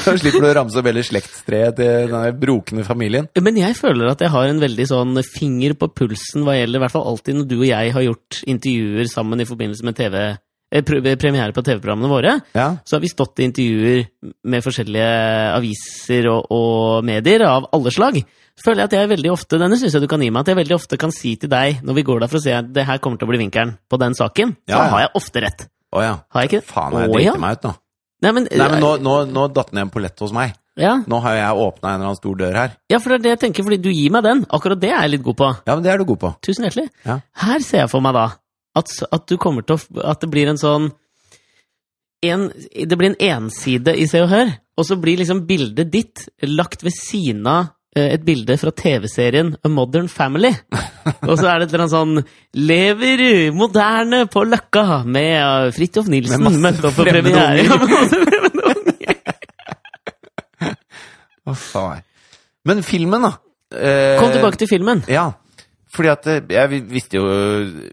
S1: Så slipper du å ramse opp hele slektstreet til den brokende familien.
S2: Men jeg føler at jeg har en veldig sånn finger på pulsen hva gjelder i hvert fall alltid når du og jeg har gjort intervjuer sammen i forbindelse med TV, eh, pr- premiere på TV-programmene våre.
S1: Ja.
S2: Så har vi stått i intervjuer med forskjellige aviser og, og medier av alle slag. Så føler jeg at jeg veldig ofte, denne synes jeg du kan gi meg, at jeg veldig ofte kan si til deg når vi går derfra og sier at det her kommer til å bli vinkelen på den saken, så
S1: Ja, ja.
S2: har jeg ofte rett.
S1: Å ja.
S2: Har jeg ikke det?
S1: Faen, jeg
S2: Å,
S1: driter
S2: ja.
S1: meg ut nå.
S2: Nei, men,
S1: Nei, men nå, nå, nå datt ned en pollett hos meg.
S2: ja.
S1: Nå har jo jeg åpna en eller annen stor dør her.
S2: ja, for det er det jeg tenker, fordi du gir meg den. Akkurat det er jeg litt god på.
S1: Ja, men det er du god på.
S2: Tusen hjertelig.
S1: Ja.
S2: Her ser jeg for meg da at, s- at du kommer til å f- At det blir en sånn en, Det blir en enside i Se og Hør, og så blir liksom bildet ditt lagt ved siden av eh, et bilde fra TV-serien A Modern Family. Og så er det et eller annet sånn 'Lever moderne på Løkka' med eh, Fridtjof Nilsen
S1: Med masse
S2: møtte opp på
S1: fremmede
S2: premiere.
S1: unger.
S2: Ja, med masse fremmede unger.
S1: Å, faen. Men filmen, da. Eh,
S2: Kom tilbake til filmen.
S1: Ja, fordi at eh, jeg visste jo,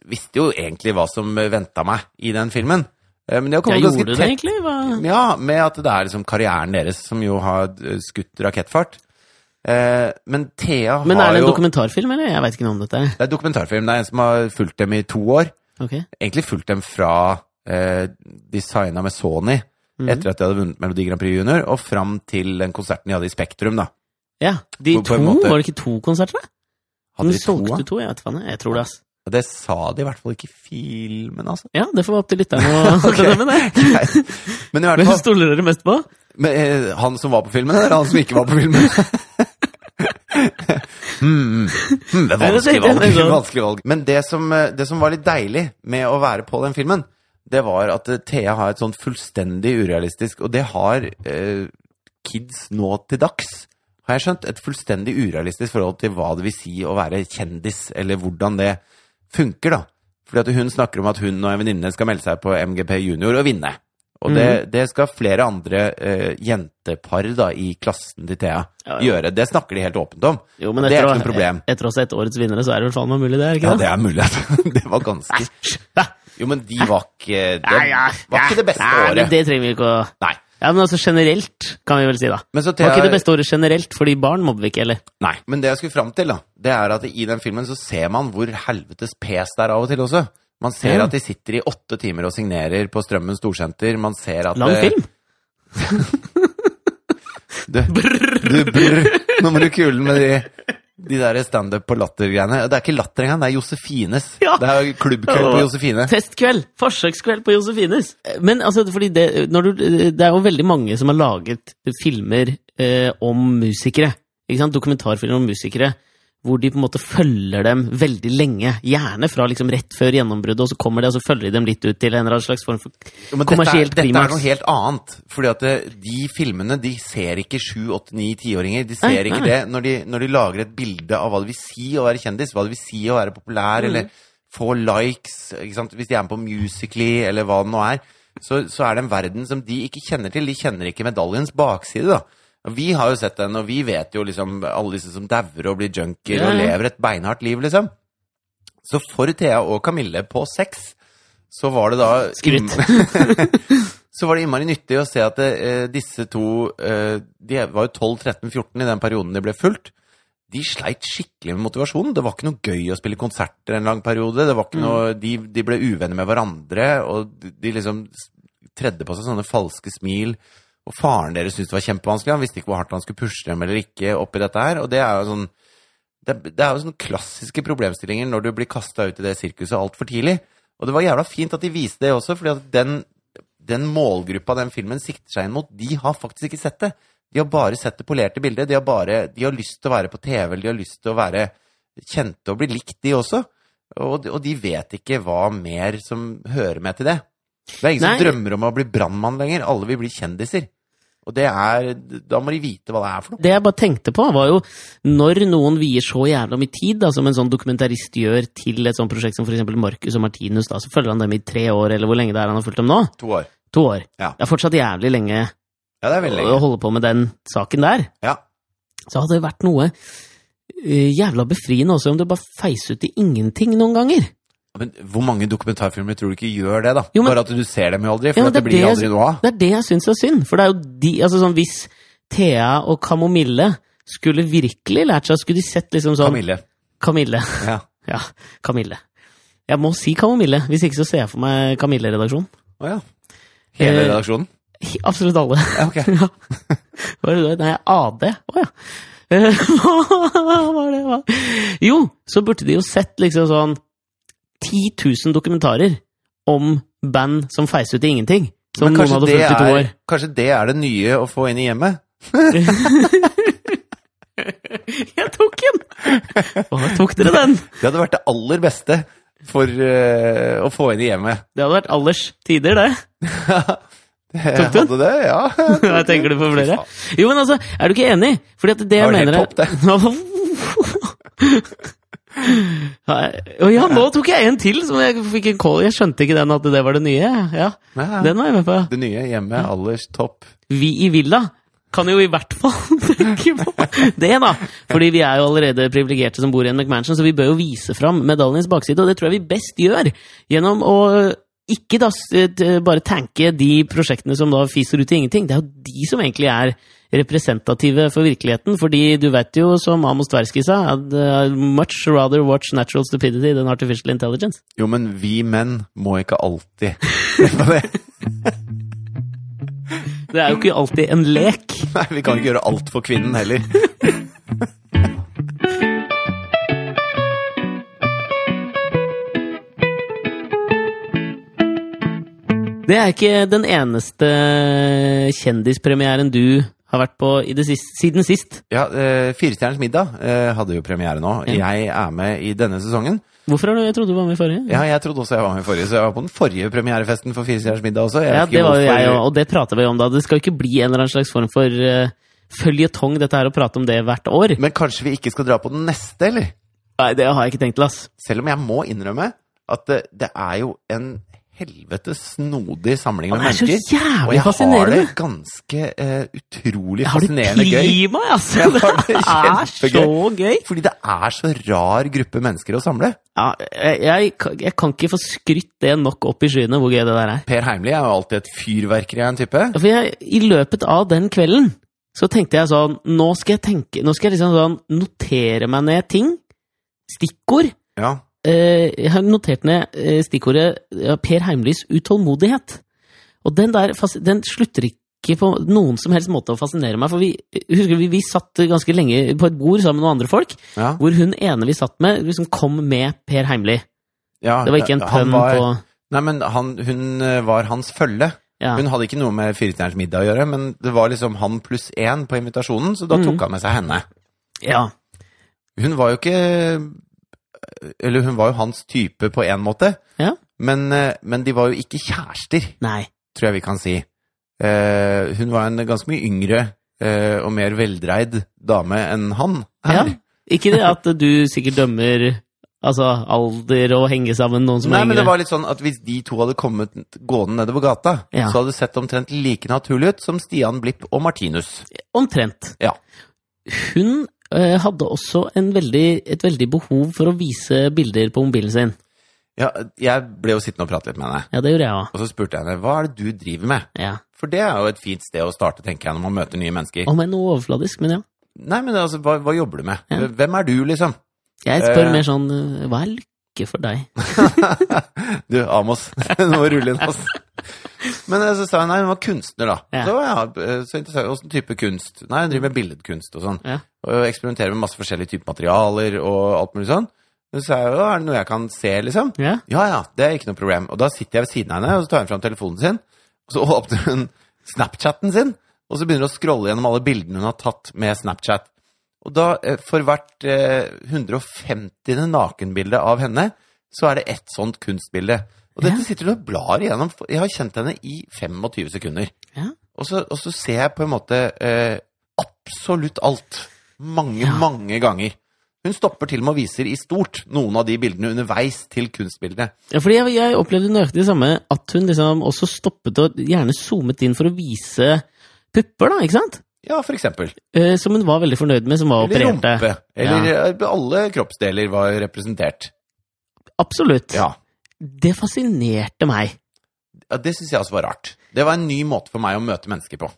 S1: visste jo egentlig hva som venta meg i den filmen. Eh, Men det har
S2: Ja,
S1: kommet
S2: gjorde du
S1: ganske
S2: det
S1: tett
S2: egentlig? Hva?
S1: ja, med at det er liksom karrieren deres som jo har eh, skutt rakettfart. Eh, Men Thea
S2: Men er
S1: har
S2: det en
S1: jo
S2: dokumentarfilm, eller? Jeg veit ikke noe om dette.
S1: Det er dokumentarfilm. Det er en som har fulgt dem i to år.
S2: Ok.
S1: Egentlig fulgt dem fra eh, de signa
S2: Mhm.
S1: med Sony etter at de hadde vunnet Melodi Grand Prix Junior, og fram til den konserten de hadde i Spektrum, da.
S2: Ja, de
S1: På- på
S2: to,
S1: en måte.
S2: var det ikke to konserter? da?
S1: Hadde
S2: de
S1: de to,
S2: solgte
S1: da?
S2: to, jeg vet faen, jeg. jeg tror det, ass.
S1: Ja, Det sa de i hvert fall ikke i filmen, altså.
S2: Ja, det får være opp til lytterne å
S1: Ok.
S2: okay. med det.
S1: Greit. Men i hvert
S2: Hvem
S1: fall
S2: stoler dere mest på?
S1: men, eh, Han som var på filmen, eller han som ikke var på filmen? Hmm, hmm, det
S2: Ja, det
S1: er vanskelig
S2: tenkte jeg
S1: valg.
S2: meg sånn.
S1: vanskelig valg. Men det som, eh, det som var litt deilig med å være på den filmen, det var at eh, Thea har et sånn fullstendig urealistisk Og det har eh, kids nå til dags, har jeg skjønt. Et fullstendig urealistisk forhold til hva det vil si å være kjendis, eller hvordan det funker, da. Fordi at hun snakker om at hun og en venninne skal melde seg på MGP junior og vinne. Og det, det skal flere andre eh, jentepar da, i klassen til Thea
S2: Ja, ja.
S1: gjøre. Det snakker de helt åpent om.
S2: Jo, men
S1: Og det er
S2: etter,
S1: ikke noe problem.
S2: etter å ha sett årets vinnere, så er det vel faen meg mulig, det? er ikke
S1: Ja, det er mulig. at- det var ganske
S2: det?
S1: Jo, men de var ikke Det
S2: Ah. Nei, ja,
S1: var ikke det beste
S2: Nei, men
S1: året.
S2: Det trenger vi ikke å
S1: Nei.
S2: Ja, men altså generelt, kan vi vel si, da.
S1: Men så
S2: Det var
S1: Thea-
S2: ikke det beste året generelt, fordi barn mobber vi ikke, eller?
S1: Nei. Men det jeg skulle fram til, da, det er at i den filmen så ser man hvor helvetes pes det er av og til også. Man ser
S2: Ja.
S1: at de sitter i åtte timer og signerer på Strømmen storsenter. Man ser at
S2: Lang
S1: eh,
S2: film!
S1: Du, du brr. Nå må du kule med de de der standup på latter-greiene. Det er ikke latter engang, det er Josefines.
S2: Ja.
S1: Det er klubbkveld på Josefine.
S2: Testkveld! Forsøkskveld på Josefines! Men altså, fordi det, når du, det er jo veldig mange som har laget filmer eh, om musikere. Ikke sant? Dokumentarfilmer om musikere. Hvor de på en måte følger dem veldig lenge. Gjerne fra liksom rett før gjennombruddet, og så kommer de, og så følger de dem litt ut til en eller annen slags form for
S1: Jo, men
S2: kommersielt
S1: dette, er- dette er noe
S2: klimaks.
S1: helt annet. Fordi at eh, de filmene de ser ikke 7, 8, 9, 10-åringer. De ser
S2: Nei,
S1: ikke
S2: nei.
S1: det når de, når de lager et bilde av hva det vil si å være kjendis, hva det vil si å være
S2: Mm.
S1: populær, eller få likes. Ikke sant? Hvis de er med på Musically, eller hva det nå er, så, så er det en verden som de ikke kjenner til. De kjenner ikke medaljens bakside, da. Og Vi har jo sett den, og vi vet jo liksom alle disse som dauer og blir junkier
S2: Ja,
S1: og
S2: ja.
S1: lever et beinhardt liv, liksom. Så for Thea og Kamille på sex, så var det da
S2: Skryt.
S1: så var det innmari nyttig å se at eh, disse to eh, De var jo 12-13-14 i den perioden de ble fulgt. De sleit skikkelig med motivasjonen. Det var ikke noe gøy å spille konserter en lang periode. Det var ikke noe, de, de ble uvenner med hverandre, og de, de liksom s- tredde på seg sånne falske smil. Og faren deres syntes det var kjempevanskelig. Han visste ikke hvor hardt han skulle pushe dem eller ikke oppi dette her. Og det er jo sånn det, er- det er jo sånne klassiske problemstillinger når du blir kasta ut i det sirkuset altfor tidlig. Og det var jævla fint at de viste det også, fordi at den, den målgruppa den filmen sikter seg inn mot, de har faktisk ikke sett det. De har bare sett det polerte bildet. De har, bare, de har lyst til å være på TV, eller de har lyst til å være kjente og bli likt, de også. Og de, og de vet ikke hva mer som hører med til det. Det er ingen
S2: Nei.
S1: som drømmer om å bli brannmann lenger. Alle vil bli kjendiser. Og det er Da må de vite hva det er for noe.
S2: Det jeg bare tenkte på, var jo når noen vier så jævla mye tid, da, som en sånn dokumentarist gjør til et sånt prosjekt som f.eks. Marcus og Martinus, da, så følger han dem i tre år, eller hvor lenge det er han har fulgt dem nå?
S1: To år.
S2: To år.
S1: Ja.
S2: Det er fortsatt jævlig lenge
S1: Ja, det er veldig
S2: å
S1: lenge.
S2: holde på med den saken der.
S1: Ja.
S2: Så hadde det vært noe eh, jævla befriende også om det bare feis ut i ingenting noen ganger.
S1: Men hvor mange dokumentarfilmer tror du ikke gjør det, da?
S2: Jo, men-
S1: Bare at du ser dem jo aldri, for
S2: Ja, men
S1: at det,
S2: det er
S1: blir
S2: det-
S1: aldri noe av.
S2: Det er det jeg syns er synd, for det er jo de Altså sånn hvis Thea og Kamomille skulle virkelig lært seg, skulle de sett liksom sånn
S1: Kamille.
S2: Kamille.
S1: Ja.
S2: Ja, Kamille. Jeg må si Kamomille, hvis ikke så ser jeg for meg Kamille-redaksjonen.
S1: Å ja. Hele
S2: Eh,
S1: redaksjonen?
S2: Hi- Absolutt alle.
S1: Ja, ok.
S2: Ja. Hva er det? du- Nei, AD. Å ja. Eh, Hva var det? Hva? Jo, så burde de jo sett liksom sånn 10 000 dokumentarer om band som feis ut i ingenting. Som
S1: Men
S2: noen
S1: kanskje
S2: hadde
S1: det,
S2: fulgt i to
S1: er,
S2: år.
S1: kanskje det er det nye å få inn i hjemmet?
S2: Jeg tok den! Hva tok dere den?
S1: Det hadde vært det aller beste for eh, å få inn i hjemmet.
S2: Det hadde vært alders tider, det.
S1: Tok
S2: du den?
S1: Hadde det, ja.
S2: Hva tenker du på
S1: Fy
S2: flere?
S1: faen.
S2: Jo, men altså, er du ikke enig? Fordi at det jeg
S1: var helt
S2: mener er-
S1: topp, det.
S2: Nei, Å ja, nå tok jeg en til som jeg fikk en call Jeg skjønte ikke den at det var det nye. Ja,
S1: Ja,
S2: Den var jeg med på.
S1: Det nye hjemmet, alders topp.
S2: Vi i Villa kan jo i hvert fall tenke på det, da. Fordi vi er jo allerede privilegerte som bor i en McMansion, så vi bør jo vise fram medaljens bakside, og det tror jeg vi best gjør gjennom å ikke da s- t- bare tanke de prosjektene som da fiser ut i ingenting. Det er jo de som egentlig er representative for virkeligheten, fordi du vet jo, som Amos Tversky sa, at uh, much rather watch natural stupidity than artificial intelligence.
S1: Jo, men vi menn må ikke alltid tenke på det.
S2: Det er jo ikke alltid en lek.
S1: Nei, vi kan ikke gjøre alt for kvinnen heller.
S2: Det er ikke den eneste kjendispremieren du har vært på i det siste, siden sist.
S1: Ja, eh, Firestjerners middag eh, hadde jo premiere nå. Jeg er med i denne sesongen.
S2: Hvorfor har du Jeg trodde du var med i forrige.
S1: Ja, jeg trodde også jeg var med i forrige, så jeg var på den forrige premierefesten for Firestjerners middag også. Jeg
S2: Ja,
S1: vet ikke
S2: det var jo
S1: hvorfor-
S2: jeg òg, og det prater vi om da. Det skal jo ikke bli en eller annen slags form for uh, føljetong, dette her, å prate om det hvert år.
S1: Men kanskje vi ikke skal dra på den neste, eller?
S2: Nei, det har jeg ikke tenkt til, ass.
S1: Selv om jeg må innrømme at det, det er jo en helvetes snodig samling med
S2: Han er så
S1: mennesker.
S2: jævlig
S1: og jeg har
S2: fascinerende.
S1: det ganske eh, utrolig
S2: Har du
S1: fascinerende gøy.
S2: klima, ass?
S1: Jeg har det
S2: Det er så gøy!
S1: Fordi det er så rar gruppe mennesker å samle.
S2: Ja, jeg, jeg, kan- jeg kan ikke få skrytt det nok opp i skyene, hvor gøy det der er.
S1: Per Heimli er jo alltid et fyrverkeri av en type.
S2: Ja, For jeg, I løpet av den kvelden så tenkte jeg sånn Nå skal jeg tenke Nå skal jeg liksom sånn notere meg ned ting. Stikkord.
S1: Ja.
S2: Eh, jeg har notert ned eh, stikkordet ja, Per Heimlys utålmodighet. Og den der fas- den slutter ikke på noen som helst måte å fascinere meg. For vi, husker vi, vi satt ganske lenge på et bord sammen med noen andre folk,
S1: ja.
S2: hvor hun ene vi satt med, liksom kom med Per Heimly.
S1: ja.
S2: Det var ikke en
S1: Han
S2: pønn
S1: var-
S2: på
S1: Nei, men han, hun eh, var hans følge.
S2: ja.
S1: Hun hadde ikke noe med Firestjerners middag å gjøre, men det var liksom han pluss én på invitasjonen, så da
S2: Mhm.
S1: tok han med seg henne.
S2: ja.
S1: Hun var jo ikke eh, Eller hun var jo hans type på én måte,
S2: Ja.
S1: men, eh, men de var jo ikke kjærester,
S2: Nei.
S1: tror jeg vi kan si. Eh, hun var en ganske mye yngre eh, og mer veldreid dame enn han.
S2: Ja.
S1: her.
S2: Ikke det at du sikkert dømmer altså, alder og henge sammen noen som
S1: Nei,
S2: er
S1: men
S2: yngre.
S1: det var litt sånn at hvis de to hadde kommet gående nedover gata,
S2: Ja.
S1: så hadde det sett omtrent like naturlig ut som Stian Blipp og Martinus.
S2: Omtrent.
S1: Ja.
S2: Hun eh, hadde også en veldig, et veldig behov for å vise bilder på mobilen sin.
S1: Ja, jeg ble jo sittende og prate litt med henne,
S2: Ja, det gjorde jeg òg.
S1: og så spurte jeg henne hva er det du driver med?
S2: Ja.
S1: For det er jo et fint sted å starte, tenker jeg, når man møter nye mennesker.
S2: Om enn noe overfladisk, men ja.
S1: Nei, men altså, hva, hva jobber du med?
S2: Ja.
S1: Hvem er du, liksom?
S2: Jeg spør
S1: Eh.
S2: mer sånn eh, Hva er lykke for deg?
S1: Du, Amos, nå må du rulle inn, ass. Men eh, så sa hun nei, hun var kunstner, da.
S2: Ja.
S1: Så, ja, eh, så interessant. Åssen type kunst? Nei, hun driver med billedkunst og sånn.
S2: Ja.
S1: Og eksperimenterer med masse forskjellige typer materialer og alt mulig sånn. Så sa jeg jo, er det noe jeg kan se, liksom?
S2: Ja.
S1: Ja ja, det er ikke noe problem. Og da sitter jeg ved siden av henne, og så tar hun fram telefonen sin. Og så åpner hun Snapchatten sin, og så begynner hun å scrolle gjennom alle bildene hun har tatt med Snapchat. Og da, eh, for hvert eh, 150. nakenbilde av henne, så er det ett sånt kunstbilde. Og dette sitter hun og blar igjennom. for Jeg har kjent henne i 25 sekunder.
S2: Ja.
S1: Og, så, og så ser jeg på en måte eh, absolutt alt. Mange,
S2: Ja.
S1: mange ganger. Hun stopper til og med og viser i stort noen av de bildene underveis til kunstbildene.
S2: ja fordi jeg, jeg opplevde nøyaktig det samme, at hun liksom også stoppet og gjerne zoomet inn for å vise pupper, da, ikke sant?
S1: Ja, for eksempel.
S2: Eh, som hun var veldig fornøyd med, som var
S1: Eller
S2: opererte.
S1: rumpe. Eller eh, alle kroppsdeler var representert.
S2: Absolutt.
S1: Ja.
S2: Det fascinerte meg.
S1: ja det syns jeg også var rart. Det var en ny måte for meg å møte mennesker på.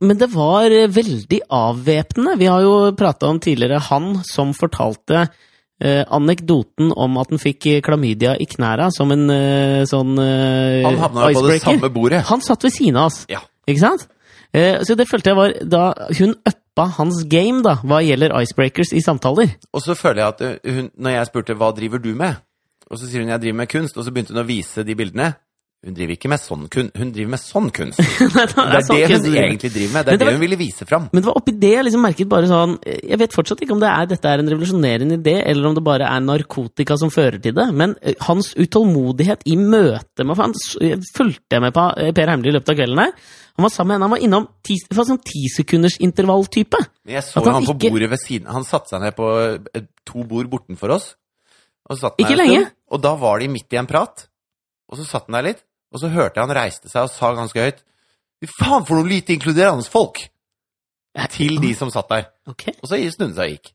S2: Men det var eh, veldig avvæpnende. Vi har jo prata om tidligere han som fortalte eh, anekdoten om at han fikk eh, klamydia i knæra som en eh, sånn eh,
S1: Han havna jo på det
S2: icebreaker.
S1: samme bordet.
S2: Han satt ved siden av oss,
S1: Ja.
S2: ikke sant? Eh, så det følte jeg var da hun uppa hans game, da, hva gjelder icebreakers i samtaler.
S1: Og så føler jeg at ø, hun, når jeg spurte hva driver du med, og så sier hun jeg driver med kunst, og så begynte hun å vise de bildene. Hun driver ikke med sånn kunst, hun driver med sånn kunst. Det
S2: det
S1: er det
S2: sånn
S1: hun
S2: kunst-
S1: egentlig driver
S2: Men
S1: med, det
S2: det
S1: er det
S2: var-
S1: hun ville vise fram.
S2: Men det var oppi det jeg liksom merket bare sånn eh, Jeg vet fortsatt ikke om det er, dette er en revolusjonerende idé, eller om det bare er narkotika som fører til det, men eh, hans utålmodighet i møte med han, s- eh, fulgte jeg med på eh, Per Heimly i løpet av kvelden her. Han var sammen med henne, han var innom ti, det var sånn tisekundersintervall-type.
S1: Men jeg så
S2: At han
S1: jo han på
S2: ikke-
S1: bordet ved siden Han satte seg ned på ø, to bord bortenfor oss. Og så satt han
S2: Ikke
S1: der en
S2: lenge.
S1: stund, Og da var de midt i en prat. Og så satt han der litt, og så hørte jeg han reiste seg og sa ganske høyt Fy faen for noe lite inkluderende folk! Til de som satt der.
S2: Ok,
S1: Og så snudde han seg og gikk.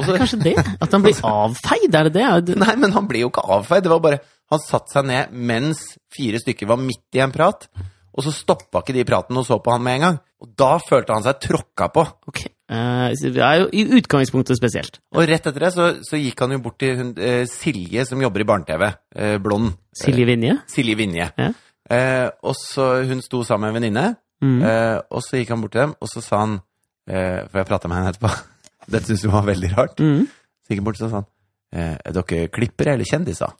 S1: Og
S2: er
S1: så-
S2: det kanskje det? At han blir avfeid, er det det? Er det-
S1: Nei, men han ble jo ikke avfeid. Det var bare Han satte seg ned mens fire stykker var midt i en prat, og så stoppa ikke de praten og så på han med en gang. Og da følte han seg tråkka på.
S2: Ok. Eh, så Det er jo i utgangspunktet spesielt.
S1: Og rett etter det så, så gikk han jo bort til hun, eh, Silje, som jobber i barne-TV. Eh, blond.
S2: Silje Vinje?
S1: Silje Vinje.
S2: Ja.
S1: Eh, og så Hun sto sammen med en venninne,
S2: Mm.
S1: eh, og så gikk han bort til dem, og så sa han eh, For jeg prata med henne etterpå. Dette syntes hun var veldig rart.
S2: Mm.
S1: Så gikk han bort og sa han eh, Er dere klippere eller kjendiser?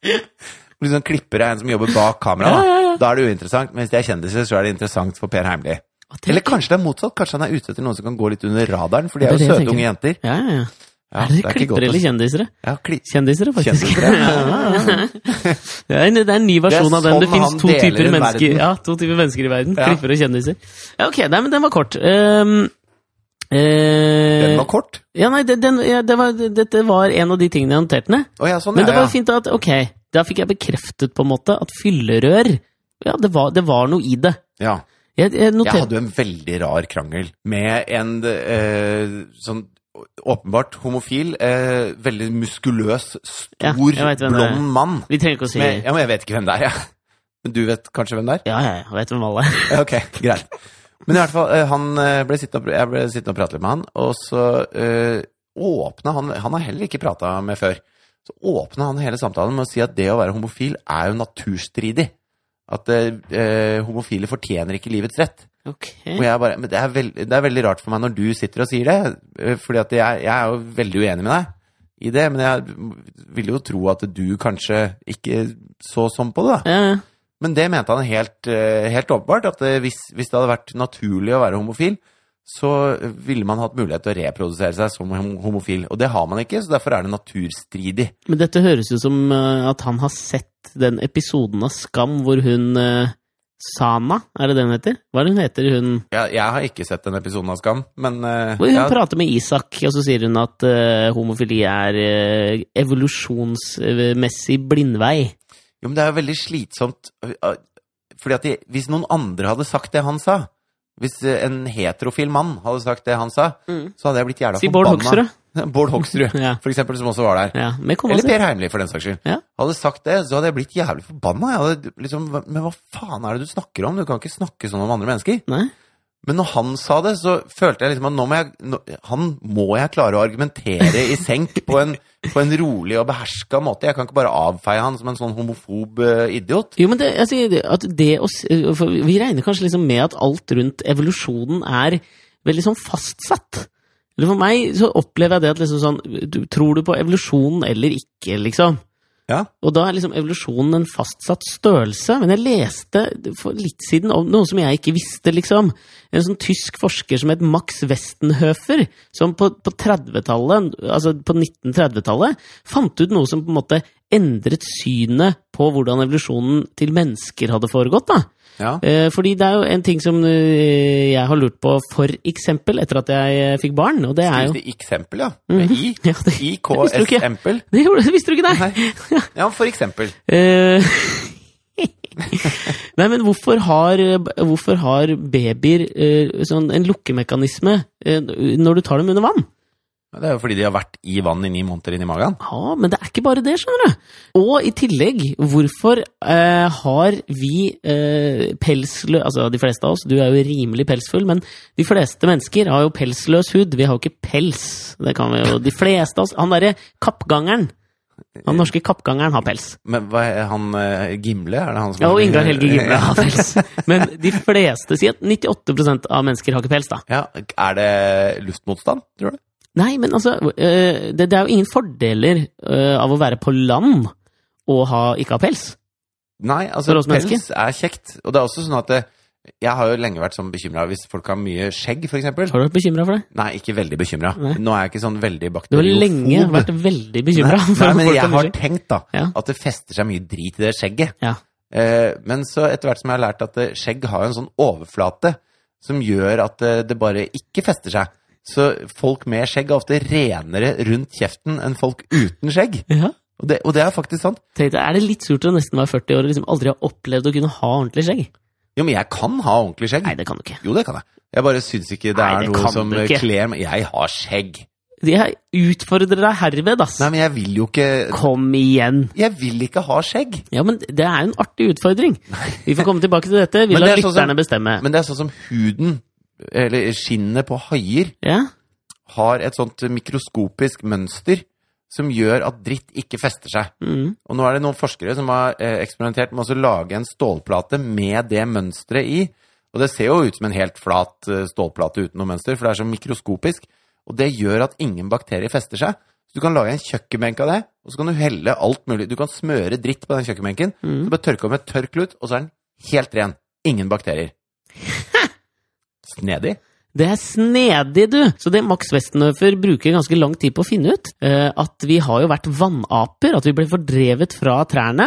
S1: Hvis sånn klipper er en som jobber bak kamera, da, da er det uinteressant. Men hvis de er kjendiser, så er det interessant for Per Heimli.
S2: Hva tenker-
S1: Eller kanskje det er motsatt. Kanskje han er ute etter noen som kan gå litt under radaren, for de er
S2: Det er det
S1: jo
S2: jeg
S1: søte unge jenter.
S2: Ja, ja, ja.
S1: Ja,
S2: er det,
S1: det er ikke godt altså.
S2: klippere
S1: å-
S2: eller kjendisere?
S1: Ja, kli
S2: Kjendisere, faktisk.
S1: Kjendisere, ja, ja,
S2: det, er en, det er en ny versjon
S1: Det er
S2: av den. Det
S1: sånn
S2: fins
S1: han
S2: to,
S1: deler
S2: typer
S1: ut
S2: mennesker-
S1: verden.
S2: ja, to typer mennesker i verden.
S1: Ja.
S2: Klippere og kjendiser. Ja, ok, nei, men den var kort. Ehm, eh,
S1: Den var kort.
S2: Ja, nei, det, den, ja, det var, det, det var en av de tingene jeg noterte ned.
S1: Å ja, sånn,
S2: Men det
S1: ja.
S2: var jo
S1: ja.
S2: fint at ok, da fikk jeg bekreftet på en måte at fyllerør Ja, det var, det var noe i det.
S1: ja.
S2: Jeg, jeg
S1: Jeg
S2: noterte
S1: hadde jo en veldig rar krangel med en eh, sånn åpenbart homofil, eh, veldig muskuløs,
S2: Ja, jeg
S1: stor,
S2: vet hvem det er.
S1: blond mann.
S2: Vi trenger ikke å si
S1: Med,
S2: Ja,
S1: ja, men jeg vet ikke hvem det er, jeg. Men du vet kanskje hvem det er?
S2: ja, jeg vet hvem alle er.
S1: Ja, Ok, greit. Men i hvert fall, eh, han eh, ble sittende og, pr- jeg ble sittende og prate litt med han, og så eh, åpna han Han har heller ikke prata med før. Så åpna han hele samtalen med å si at det å være homofil er jo naturstridig. At eh, eh, homofile fortjener ikke livets rett.
S2: Ok.
S1: Og jeg bare, men det er, veld, det er veldig rart for meg når du sitter og sier det, eh, fordi at jeg, jeg er jo veldig uenig med deg i det, men jeg ville jo tro at du kanskje ikke så sånn på det, da.
S2: Ja, ja.
S1: Men det mente han helt, eh, helt åpenbart, at eh, hvis, hvis det hadde vært naturlig å være homofil, så ville man hatt mulighet til å reprodusere seg som hom- homofil. Og det har man ikke, så derfor er det naturstridig.
S2: Men dette høres jo som eh, at han har sett den episoden av Skam hvor hun eh, Sana, er det den heter? Hva er det hun heter, hun
S1: Jeg, jeg har ikke sett den episoden av Skam, men eh,
S2: Hvor hun
S1: ja,
S2: prater med Isak, og så sier hun at eh, homofili er eh, evolusjonsmessig blindvei.
S1: Jo, men det er jo veldig slitsomt øh, Fordi at de, hvis noen andre hadde sagt det han sa Hvis øh, en heterofil mann hadde sagt det han sa Så hadde jeg blitt jævla
S2: Si Bård
S1: forbanna.
S2: Hoksrud.
S1: Bård Hoksrud,
S2: Ja.
S1: for eksempel, som også var der
S2: Ja, med kona
S1: Eller
S2: si.
S1: Per Heimli, for den saks skyld
S2: Ja.
S1: Hadde sagt det, så hadde jeg blitt jævlig forbanna jeg hadde, liksom, hva- Men hva faen er det du snakker om? Du kan ikke snakke sånn om andre mennesker
S2: Nei?
S1: Men når han sa det, så følte jeg liksom at nå må jeg, nå, han må jeg klare å argumentere i senk på en, på en rolig og beherska måte. Jeg kan ikke bare avfeie han som en sånn homofob eh, idiot.
S2: Jo, men det, jeg sier det- at det å s- for Vi regner kanskje liksom med at alt rundt evolusjonen er veldig sånn fastsatt. Eller for meg så opplever jeg det at liksom sånn du, Tror du på evolusjonen eller ikke, liksom?
S1: Ja.
S2: Og da er liksom evolusjonen en fastsatt størrelse. Men jeg leste for litt siden om noe som jeg ikke visste, liksom. En sånn tysk forsker som het Max Westenhöfer, som på, på 30-tallet, altså på 1930-tallet, fant ut noe som på en måte endret synet på hvordan evolusjonen til mennesker hadde foregått, da.
S1: Ja.
S2: Eh, Fordi det er jo en ting som eh, jeg har lurt på, for eksempel, etter at jeg eh, fikk barn, og det er jo Mm.
S1: Skrives det eksempel, ja? Med I?
S2: Ja, det, visste du ikke.
S1: IKS-empel?
S2: det gjorde- det visste du ikke, nei!
S1: Nei. Ja, for eksempel.
S2: Eh, Nei, men hvorfor har, hvorfor har babyer eh, sånn en lukkemekanisme eh, når du tar dem under vann?
S1: Ja, Det er jo fordi de har vært i vann i ni måneder inni magen.
S2: Ja, men det er ikke bare det, skjønner du. Og i tillegg, hvorfor eh, har vi eh, pelslø... Altså, de fleste av oss, du er jo rimelig pelsfull, men de fleste mennesker har jo pelsløs hud. Vi har jo ikke pels. Det kan vi jo De fleste av oss Han derre kappgangeren. Han norske kappgangeren har pels.
S1: Men hva er han eh, Gimle? Er det han som
S2: Ja, og Ingar Helge Gimle har pels. Men de fleste sier at 98 av mennesker har ikke pels, da.
S1: Ja, er det luftmotstand, tror du?
S2: Nei, men altså, øh, det, det er jo ingen fordeler øh, av å være på land og ha, ikke ha pels.
S1: Nei, altså
S2: For oss
S1: pels
S2: mennesker?
S1: er kjekt. Og det er også sånn at eh, jeg har jo lenge vært sånn bekymra hvis folk har mye skjegg, for eksempel.
S2: Har du vært bekymra for det?
S1: Nei, ikke veldig bekymra.
S2: Nei.
S1: Nå er jeg ikke sånn
S2: Du
S1: veldig
S2: har
S1: bakteriofob.
S2: lenge vært veldig bekymra.
S1: Nei, nei, men jeg har tenkt da
S2: Ja.
S1: at det fester seg mye drit i det skjegget.
S2: Ja.
S1: Eh, men så etter hvert som jeg har lært at eh, skjegg har jo en sånn overflate som gjør at eh, det bare ikke fester seg. Så folk med skjegg er ofte renere rundt kjeften enn folk uten skjegg.
S2: Ja.
S1: Og det, og det er faktisk sant.
S2: Tenkte, jeg, er det litt surt å nesten være 40 år og liksom aldri ha opplevd å kunne ha ordentlig skjegg?
S1: Jo, men jeg kan ha ordentlig skjegg.
S2: Nei, det kan du ikke.
S1: Jo, det kan jeg. Jeg bare syns ikke det
S2: Nei,
S1: er
S2: det
S1: noe
S2: kan
S1: som
S2: du
S1: eh,
S2: ikke.
S1: kler meg Jeg har skjegg.
S2: Jeg utfordrer deg herved, ass.
S1: Nei, men jeg vil jo ikke
S2: Kom igjen.
S1: Jeg vil ikke ha skjegg.
S2: Ja, men det er jo en artig utfordring. Vi får komme tilbake til dette. Vi
S1: Men
S2: lar
S1: det er sånn som-
S2: lytterne bestemme.
S1: Men det er sånn som huden, eller skinnet på haier,
S2: Ja?
S1: har et sånt mikroskopisk mønster som gjør at dritt ikke fester seg.
S2: Mm.
S1: Og nå er det noen forskere som har eh, eksperimentert med å lage en stålplate med det mønsteret i. Og det ser jo ut som en helt flat eh, stålplate uten noe mønster, for det er så mikroskopisk. Og det gjør at ingen bakterier fester seg. Så du kan lage en kjøkkenbenk av det, og så kan du helle alt mulig. Du kan smøre dritt på den kjøkkenbenken,
S2: Mm.
S1: så bare tørke om med et tørk klut, og så er den helt ren. Ingen bakterier. Snedig.
S2: Det er snedig, du! Så det Max Westenhofer bruker ganske lang tid på å finne ut, eh, at vi har jo vært vannaper, at vi ble fordrevet fra trærne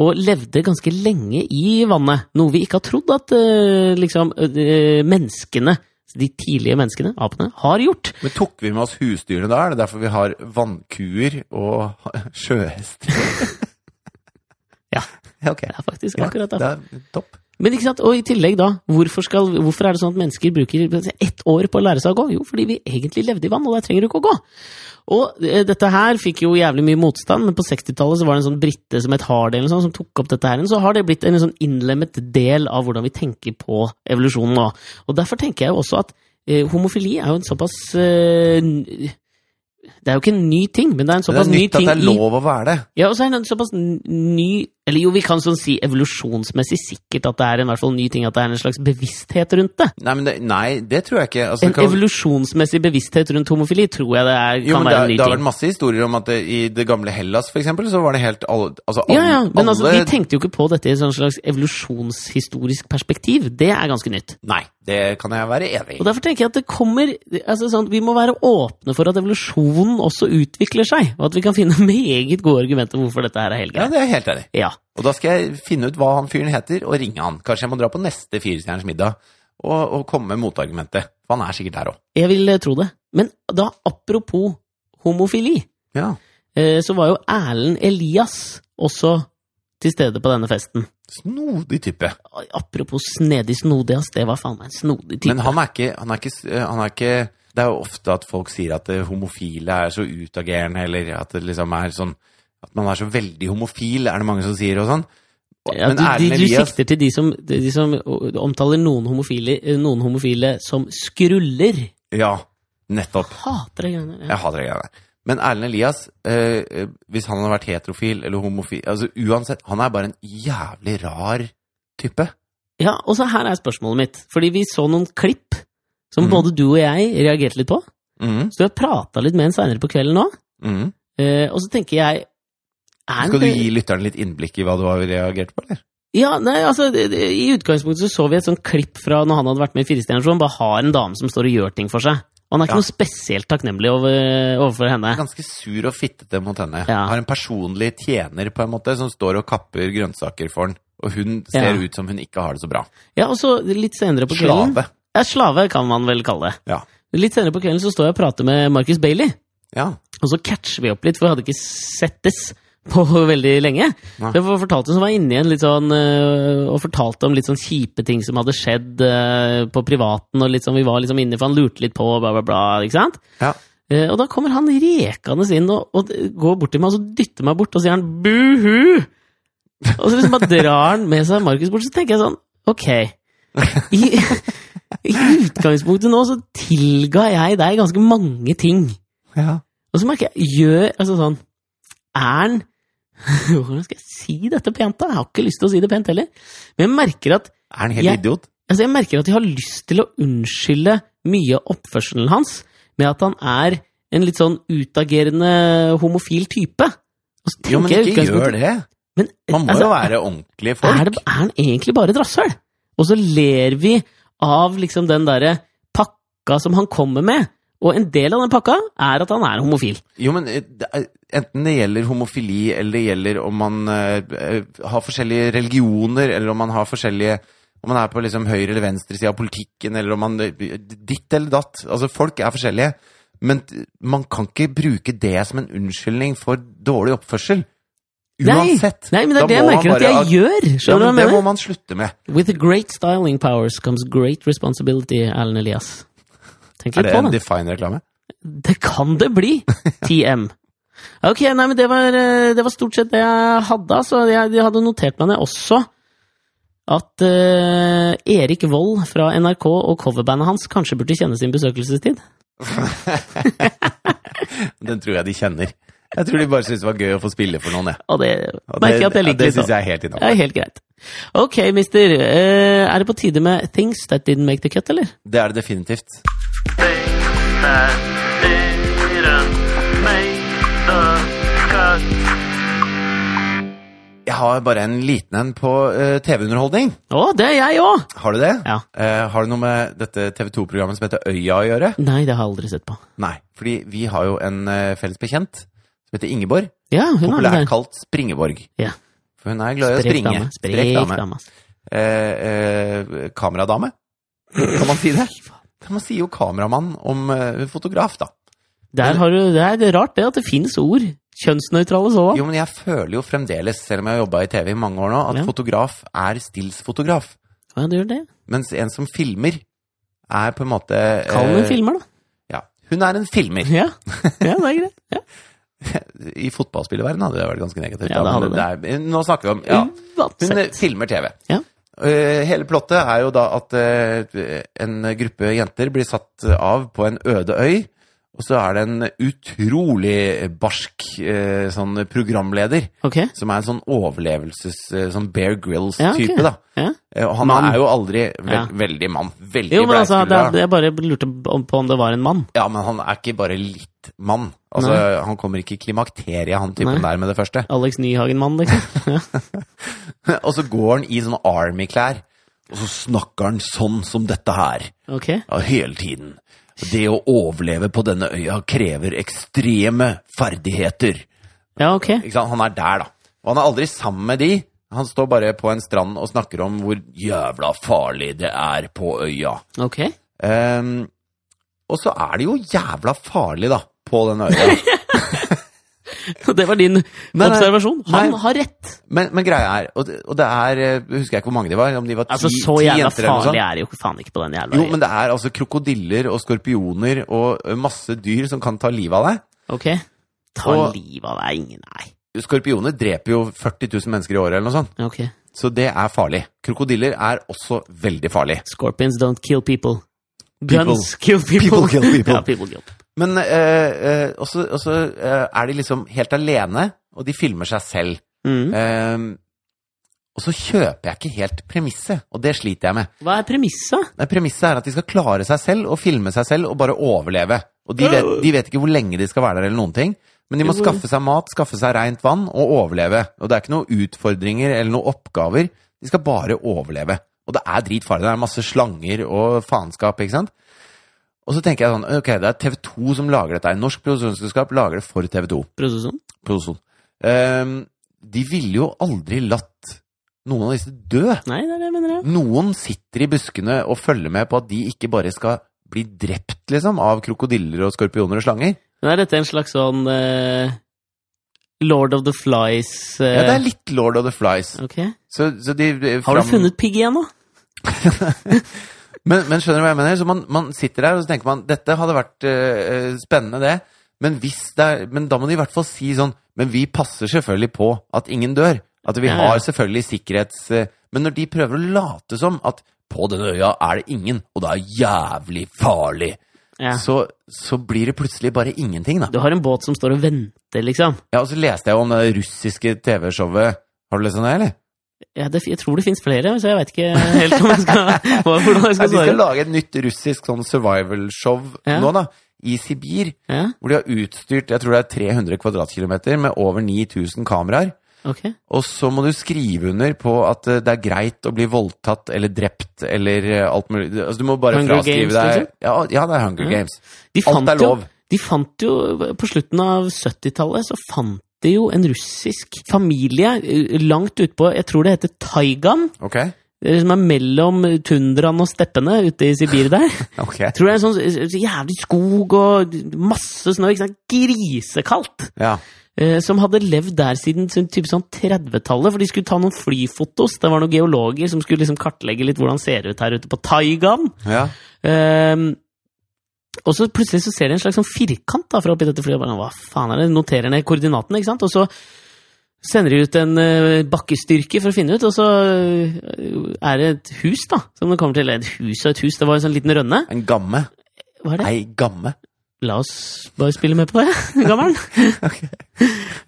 S2: og levde ganske lenge i vannet. Noe vi ikke har trodd at eh, liksom eh, menneskene, de tidlige menneskene, apene, har gjort.
S1: Men tok vi med oss husdyrene da? Er det derfor vi har vannkuer og sjøhester?
S2: Ja.
S1: Ok.
S2: Det er faktisk
S1: Ja,
S2: akkurat
S1: det
S2: det.
S1: er topp.
S2: Men ikke sant, og i tillegg da, hvorfor, skal, hvorfor er det sånn at mennesker bruker ett år på å lære seg å gå? Jo, fordi vi egentlig levde i vann, og der trenger du ikke å gå. Og eh, dette her fikk jo jævlig mye motstand, men på 60-tallet så var det en sånn brite som het Hardy eller noe sånt, som tok opp dette her, så har det blitt en sånn innlemmet del av hvordan vi tenker på evolusjonen nå. Og derfor tenker jeg jo også at eh, homofili er jo en såpass eh, n- Det er jo ikke en ny ting, men det er en
S1: Men det
S2: såpass
S1: er
S2: ny
S1: nytt at
S2: ting
S1: det er
S2: i
S1: lov å være det.
S2: ja, og så er det en såpass n- ny Eller jo, vi kan sånn si evolusjonsmessig sikkert at det er en i hvert fall ny ting, at det er en slags bevissthet rundt det.
S1: Nei, men det, nei, det tror jeg ikke. Altså,
S2: En
S1: det kan-
S2: evolusjonsmessig bevissthet rundt homofili tror jeg det er,
S1: jo,
S2: kan
S1: men det,
S2: være
S1: er-
S2: en ny
S1: det har vært
S2: ting.
S1: masse historier om at det, i det gamle Hellas, for eksempel, så var det helt alle, altså,
S2: Ja, ja, men altså,
S1: alle
S2: De tenkte jo ikke på dette i et sånn slags evolusjonshistorisk perspektiv. Det er ganske nytt.
S1: Nei, det kan jeg være enig
S2: Og
S1: i.
S2: Derfor tenker jeg at det kommer altså sånn, Vi må være åpne for at evolusjonen også utvikler seg, og at vi kan finne meget gode argumenter hvorfor dette her er helt
S1: Ja,
S2: greit.
S1: det er jeg helt enig i.
S2: Ja.
S1: Og da skal jeg finne ut hva han fyren heter, og ringe han. Kanskje jeg må dra på neste Firestjerners middag og, og komme med motargumentet. For han er sikkert der òg.
S2: Jeg vil eh, tro det. Men da, apropos homofili.
S1: Ja.
S2: eh, så var jo Erlend Elias også til stede på denne festen.
S1: Snodig type.
S2: Apropos snedig snodig, ass. Det var faen meg en snodig type.
S1: Men han er ikke, han er ikke, s- eh, han er ikke Det er jo ofte at folk sier at eh, homofile er så utagerende, eller at det liksom er sånn At man er så veldig homofil, er det mange som sier, og sånn. Og-
S2: ja,
S1: Men
S2: du, de, du
S1: Erlend Elias
S2: sikter til de som, de som omtaler noen homofile, eh, noen homofile som skruller.
S1: Ja, nettopp.
S2: Hater det greiene. Ja.
S1: Jeg hater det greiene der. Men Erlend Elias, eh, eh, hvis han hadde vært heterofil eller homofil Altså uansett, han er bare en jævlig rar type.
S2: ja, og så her er spørsmålet mitt. Fordi vi så noen klipp som
S1: Mhm.
S2: både du og jeg reagerte litt på.
S1: Mhm,
S2: Så vi har prata litt med en seinere på kvelden nå.
S1: mhm.
S2: eh, og så tenker jeg er
S1: Skal du
S2: det-
S1: gi lytteren litt innblikk i hva du har reagert på, eller?
S2: Ja, nei, altså det- det- I utgangspunktet så så vi et sånt klipp fra når han hadde vært med i Firestjerners, hvor han bare har en dame som står og gjør ting for seg. Og han er ikke
S1: Ja.
S2: noe spesielt takknemlig over, overfor henne.
S1: Ganske sur og fittete mot henne.
S2: Ja.
S1: Har en personlig tjener, på en måte, som står og kapper grønnsaker for han. Og hun ser
S2: Ja.
S1: ut som hun ikke har det så bra.
S2: Ja, og så litt senere på kvelden
S1: Slave.
S2: Ja, slave kan man vel kalle det.
S1: Ja.
S2: Litt senere på kvelden så står jeg og prater med Marcus Bailey,
S1: ja.
S2: og så catcher vi opp litt, for vi hadde ikke settes på veldig lenge. Så
S1: Nei.
S2: jeg fortalte hun som var inni en litt sånn øh, Og fortalte om litt sånn kjipe ting som hadde skjedd øh, på privaten, og litt sånn vi var liksom inne, for han lurte litt på, bla, bla, bla. ikke sant?
S1: ja.
S2: Eh, Og da kommer han rekende inn og, og går bort til meg og så dytter meg bort og sier han buhu! Og så liksom bare drar han med seg Markus bort, så tenker jeg sånn ok. I, I utgangspunktet nå så tilga jeg deg ganske mange ting.
S1: ja.
S2: Og så merker jeg gjør altså sånn Er han Hvordan skal jeg si dette pent, da? Jeg har ikke lyst til å si det pent heller. Men jeg merker at
S1: Er han helt
S2: Jeg-
S1: idiot?
S2: Altså, jeg merker at de har lyst til å unnskylde mye av oppførselen hans med at han er en litt sånn utagerende homofil type. Og så
S1: Jo, men
S2: tenker jeg i
S1: ikke
S2: utgangspunktet-
S1: gjør det.
S2: Men,
S1: Man må
S2: altså,
S1: jo være ordentlige folk.
S2: Er, det, er han egentlig bare et rasshøl? Og så ler vi av liksom den derre pakka som han kommer med, og en del av den pakka er at han er homofil.
S1: Jo, men eh, det er- enten det gjelder homofili, eller det gjelder om man eh, eh, har forskjellige religioner, eller om man har forskjellige Om man er på liksom høyre eller venstre side av politikken, eller om man eh, Ditt eller datt. Altså, folk er forskjellige. Men t- man kan ikke bruke det som en unnskyldning for dårlig oppførsel. Uansett.
S2: Nei, nei men det
S1: Da
S2: er det jeg
S1: må man
S2: merker at
S1: bare
S2: jeg
S1: ag-
S2: gjør.
S1: ja,
S2: Skjønner du hva
S1: men Det
S2: jeg
S1: må
S2: mener?
S1: man slutte med.
S2: With great styling powers comes great responsibility, Erlend Elias. Tenk
S1: Er
S2: litt
S1: det
S2: på
S1: en
S2: den.
S1: Define-reklame?
S2: Det kan det bli! TM. Ok, nei, men det var, eh, det var stort sett det jeg hadde. Så jeg, jeg hadde notert meg ned også at eh, Erik Vold fra NRK og coverbandet hans kanskje burde kjenne sin besøkelsestid.
S1: Den tror jeg de kjenner. Jeg tror de bare syntes det var gøy å få spille for noen, jeg.
S2: Og det
S1: Og
S2: merker jeg at jeg liker.
S1: Det
S2: litt
S1: syns
S2: av.
S1: jeg er helt
S2: Det er
S1: innafor.
S2: helt greit. Ok, mister. eh, er det på tide med Things That Didn't Make The Cut, eller?
S1: Det er det definitivt.
S3: things that didn't make
S1: har bare en liten en på eh, TV-underholdning.
S2: Å, det er jeg òg!
S1: Har du det?
S2: Ja.
S1: Eh, har det noe med dette TV2-programmet som heter Øya å gjøre?
S2: Nei, det har jeg aldri sett på.
S1: Nei, fordi vi har jo en eh, felles bekjent som heter Ingeborg.
S2: Ja, hun har sånn det
S1: Populært
S2: der.
S1: kalt Springeborg.
S2: Ja.
S1: For hun er glad i å
S2: Sprek
S1: springe.
S2: dame.
S1: Sprek
S2: Sprek
S1: dame.
S2: dame. ass.
S1: Eh, eh, kameradame. Kan man si det? Man sier jo kameramann om eh, fotograf, da.
S2: Der har du, det er det er rart det at det finnes ord. Kjønnsnøytrale sådan.
S1: Jo, men jeg føler jo fremdeles, selv om jeg har jobba i TV i mange år nå, at
S2: Ja.
S1: fotograf er stillsfotograf.
S2: Ja, du gjør det.
S1: Mens en som filmer, er på en måte
S2: Kall den
S1: eh,
S2: en filmer, da.
S1: Ja. Hun er en filmer.
S2: Ja, ja det er greit. Ja.
S1: I fotballspillerverdenen hadde det vært ganske negativt.
S2: Ja,
S1: da,
S2: det
S1: men
S2: hadde
S1: det er- nå snakker vi om ja, Hun eh,
S2: Uansett.
S1: filmer TV.
S2: Ja.
S1: Eh, hele plottet er jo da at eh, en gruppe jenter blir satt av på en øde øy, og så er det en utrolig barsk eh, sånn programleder,
S2: Ok.
S1: som er en sånn overlevelses... eh, sånn
S2: Ja,
S1: Bear
S2: ok.
S1: Grills-type, da.
S2: Ja.
S1: Eh, og han
S2: Mann.
S1: er jo aldri vel,
S2: Ja.
S1: veldig mann. Veldig
S2: Jo, men altså, det
S1: breiskuldra.
S2: er, jeg bare lurte om- på om det var en mann.
S1: Ja, men han er ikke bare litt mann. Altså, Han kommer ikke i klimakteriet, han typen
S2: Nei.
S1: der, med det første.
S2: Alex Nyhagen-mann, liksom. Ja.
S1: og så går han i sånne Army-klær, og så snakker han sånn som dette her.
S2: Ok.
S1: Ja, hele tiden. Det å overleve på denne øya krever ekstreme ferdigheter.
S2: Ja, ok.
S1: Ikke sant? Han er der, da. Og han er aldri sammen med de. Han står bare på en strand og snakker om hvor jævla farlig det er på øya.
S2: Ok.
S1: Ehm, og så er det jo jævla farlig, da, på denne øya.
S2: Det var din
S1: nei.
S2: observasjon. Han
S1: Nei.
S2: har rett!
S1: Men, men greia er, og det, og det er eh, Husker jeg ikke hvor mange de var? Om de var ti,
S2: Altså, så
S1: ti
S2: jævla
S1: jenter eller noe sånt?
S2: farlig er det jo faen ikke på den jævla
S1: Jo,
S2: øya.
S1: men det er altså krokodiller og skorpioner og eh, masse dyr som kan ta livet av deg.
S2: Ok. Ta
S1: Og-
S2: livet av deg, ingen Nei.
S1: Skorpioner dreper jo 40 000 mennesker i året eller noe sånt,
S2: Ok.
S1: så det er farlig. Krokodiller er også veldig farlig.
S2: Scorpions don't kill people.
S1: People.
S2: Guns kill people.
S1: People kill people.
S2: Ja, people kill.
S1: Men eh, eh, også, også eh, er de liksom helt alene, og de filmer seg selv.
S2: Mm.
S1: Eh, og så kjøper jeg ikke helt premisset, og det sliter jeg med.
S2: Hva er premisset?
S1: Nei, Premisset er at de skal klare seg selv og filme seg selv og bare overleve. Og de vet, de vet ikke hvor lenge de skal være der eller noen ting. Men de må
S2: Jo.
S1: skaffe seg mat, skaffe seg rent vann og overleve. Og det er ikke noen utfordringer eller noen oppgaver. De skal bare overleve. Og det er dritfarlig. Det er masse slanger og faenskap, ikke sant? Og så tenker jeg sånn, ok, det er TV2 som lager dette. her. Norsk produksjonsselskap lager det for TV2.
S2: Produksjon?
S1: Produksjon. Ehm, de ville jo aldri latt noen av disse dø.
S2: Nei, det er det jeg mener. jeg.
S1: Noen sitter i buskene og følger med på at de ikke bare skal bli drept, liksom, av krokodiller og skorpioner og slanger.
S2: Men er dette en slags sånn eh, Lord of the Flies eh,
S1: Ja, det er litt Lord of the Flies.
S2: Ok.
S1: Så, så de eh,
S2: Har
S1: fram-
S2: du funnet pigg igjen, da?
S1: Men, men skjønner du hva jeg mener? Så man, man sitter der og så tenker man, dette hadde vært eh, eh, spennende, det. Men, hvis det er, men da må de i hvert fall si sånn Men vi passer selvfølgelig på at ingen dør. At vi
S2: Ja, ja.
S1: har selvfølgelig sikkerhets... eh, men når de prøver å late som at på denne øya er det ingen, og det er jævlig farlig,
S2: Ja.
S1: så, så blir det plutselig bare ingenting, da.
S2: Du har en båt som står og venter, liksom.
S1: Ja, og så leste jeg jo om det russiske TV-showet. Har du lest om det, eller?
S2: Ja, det, jeg tror det fins flere, så jeg veit ikke helt om jeg skal, hva, hvordan jeg
S1: Nei,
S2: skal
S1: de skal
S2: svare.
S1: lage et nytt russisk sånn survival-show
S2: Ja.
S1: nå, da. I Sibir.
S2: Ja,
S1: Hvor de har utstyrt jeg tror det er 300 kvadratkilometer med over 9000 kameraer.
S2: ok.
S1: Og så må du skrive under på at eh, det er greit å bli voldtatt eller drept eller eh, alt mulig. Altså, du må bare
S2: Hunger
S1: fraskrive
S2: Games,
S1: deg
S2: liksom?
S1: ja, ja, det er Hunger
S2: Ja.
S1: Games.
S2: De
S1: Alt er
S2: fant jo,
S1: lov.
S2: de fant jo På slutten av 70-tallet så fant de jo en russisk familie eh, langt utpå, jeg tror det heter Taigan,
S1: Ok?
S2: eh, som er mellom tundraen og steppene ute i Sibir der. Jeg
S1: Ok.
S2: tror det er en sånn eh, så jævlig skog og masse snø, ikke sant? grisekaldt!
S1: Ja.
S2: eh, Som hadde levd der siden sin type sånn 30-tallet, for de skulle ta noen flyfotos. Det var noen geologer som skulle liksom kartlegge litt hvordan det ser ut her ute på Taigan.
S1: ja.
S2: Ehm, og så plutselig så ser de en slags sånn firkant da, fra oppi dette flyet. Og bare, sånn, Hva faen er det? Noterer ned koordinatene, ikke sant? Og så sender de ut en eh, bakkestyrke for å finne ut, og så eh, er det et hus, da. Som det kommer til. Et hus og et hus. Det var en sånn liten rønne.
S1: En gamme.
S2: Hva er det?
S1: Ei gamme.
S2: La oss bare spille med på det, gammelen.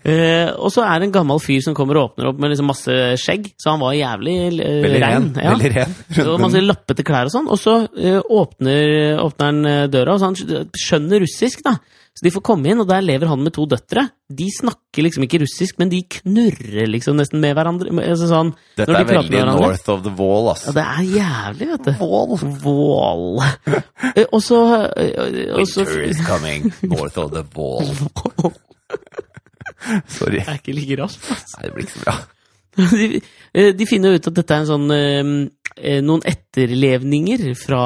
S2: Eh, og så er det en gammel fyr som kommer og åpner opp med liksom masse skjegg, så han var jævlig uh,
S1: Veldig ren.
S2: rein. ja.
S1: Veldig ren.
S2: Og masse lappete klær og sånn. Og så eh, åpner, åpner han eh, døra, og så han skj- skjønner russisk, da. Så de får komme inn, og der lever han med to døtre. De snakker liksom ikke russisk, men de knurrer liksom nesten med hverandre. med- Altså sånn,
S1: Dette
S2: når de
S1: er
S2: prater med
S1: veldig
S2: hverandre.
S1: north of the wall, ass.
S2: Ja, det er jævlig, vet du.
S1: Wall.
S2: Vål. Eh, Og så eh, og så-
S1: Winter is coming, north of the wall. Sorry.
S2: Jeg er ikke like raskt, altså.
S1: Nei, det blir ikke så bra.
S2: de, eh, de finner ut at dette er en sånn eh, eh, Noen etterlevninger fra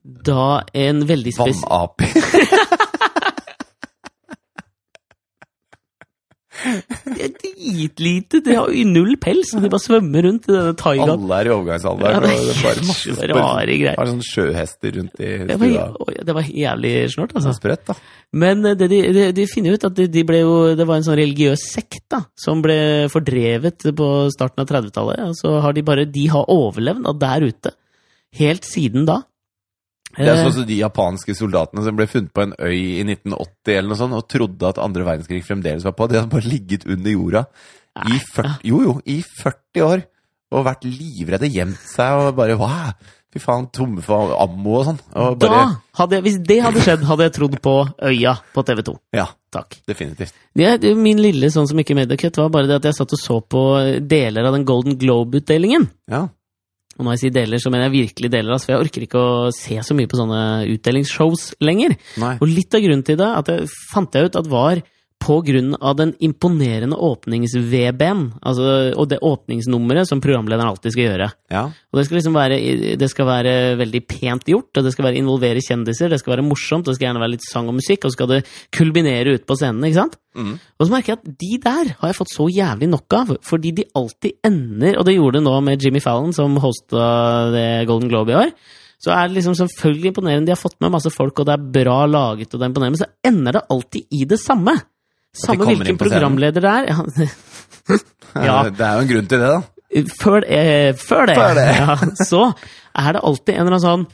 S2: da en veldig spes...
S1: Vannaper.
S2: De er dritlite! De har jo null pels, og de bare svømmer rundt i denne taigaen.
S1: Alle er i
S2: Ja,
S1: overgangsalder.
S2: det er
S1: og det er bare
S2: helt
S1: masse
S2: rare greier.
S1: Bare sånn sjøhester rundt i
S2: Det var,
S1: stua.
S2: oi, det var jævlig snålt, altså.
S1: Sprøtt, da.
S2: Men eh, det de, de, de finner ut at de, de ble jo, det var en sånn religiøs sekt da, som ble fordrevet på starten av 30-tallet. Og så har de bare De har overlevd da, der ute. Helt siden da.
S1: Det er
S2: Eh,
S1: sånn som de japanske soldatene som ble funnet på en øy i 1980 eller noe sånt, og trodde at andre verdenskrig fremdeles var på. De hadde bare ligget under jorda i 40, jo, jo, i 40 år og vært livredde, gjemt seg og bare wow, Fy faen, tomme for ammo og sånn. Og bare,
S2: Da hadde jeg, hvis det hadde skjedd, hadde jeg trodd på Øya på TV2.
S1: Ja,
S2: Takk.
S1: definitivt.
S2: Jeg, min lille sånn som ikke mediecut, var bare det at jeg satt og så på deler av den Golden Globe-utdelingen.
S1: Ja.
S2: Og når jeg sier deler, så mener jeg virkelig deler, altså, for jeg orker ikke å se så mye på sånne utdelingsshows lenger.
S1: Nei.
S2: Og litt av grunnen til det at jeg fant jeg ut at var på grunn av den imponerende åpnings-VB-en, altså, og det åpningsnummeret som programlederen alltid skal gjøre.
S1: Ja.
S2: Og det skal liksom være, det skal være veldig pent gjort, og det skal være involvere kjendiser, det skal være morsomt, det skal gjerne være litt sang og musikk, og så skal det kulminere ut på scenen, ikke sant?
S1: Mm.
S2: Og så merker jeg at de der har jeg fått så jævlig nok av, fordi de alltid ender, og det gjorde det nå med Jimmy Fallon som hosta det Golden Globe i år, så er det liksom selvfølgelig imponerende, de har fått med masse folk, og det er bra laget, og det er imponerende, men så ender det alltid i det samme. Samme
S1: kommer
S2: hvilken
S1: inn på scenen.
S2: programleder det er. Ja, Ja.
S1: Det er jo en grunn til det, da.
S2: før, eh, før det,
S1: Før det.
S2: Ja, så er det alltid en eller annen sånn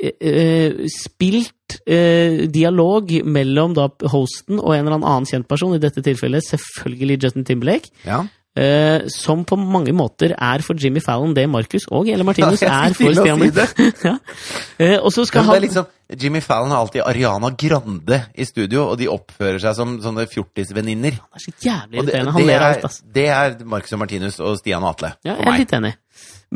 S2: eh, eh, spilt eh, dialog mellom da hosten og en eller annen annen kjent person, i dette tilfellet selvfølgelig Justin Timberlake,
S1: Ja.
S2: eh, som på mange måter er for Jimmy Fallon det Markus og Ellen Martinus
S1: Ja,
S2: er
S1: jeg
S2: for
S1: skulle til å
S2: Stian
S1: si
S2: Blipp. ja. Eh, og så
S1: Ja,
S2: skal
S1: men det er
S2: han
S1: liksom, Jimmy Fallon har alltid Ariana Grande i studio, og de oppfører seg som sånne fjortisvenninner.
S2: Han er så jævlig
S1: Og det,
S2: irriterende. Han
S1: det,
S2: ler av
S1: er,
S2: alt, altså. ass.
S1: det er Marcus og Martinus og Stian og Atle.
S2: Ja,
S1: for
S2: jeg er
S1: meg.
S2: litt enig.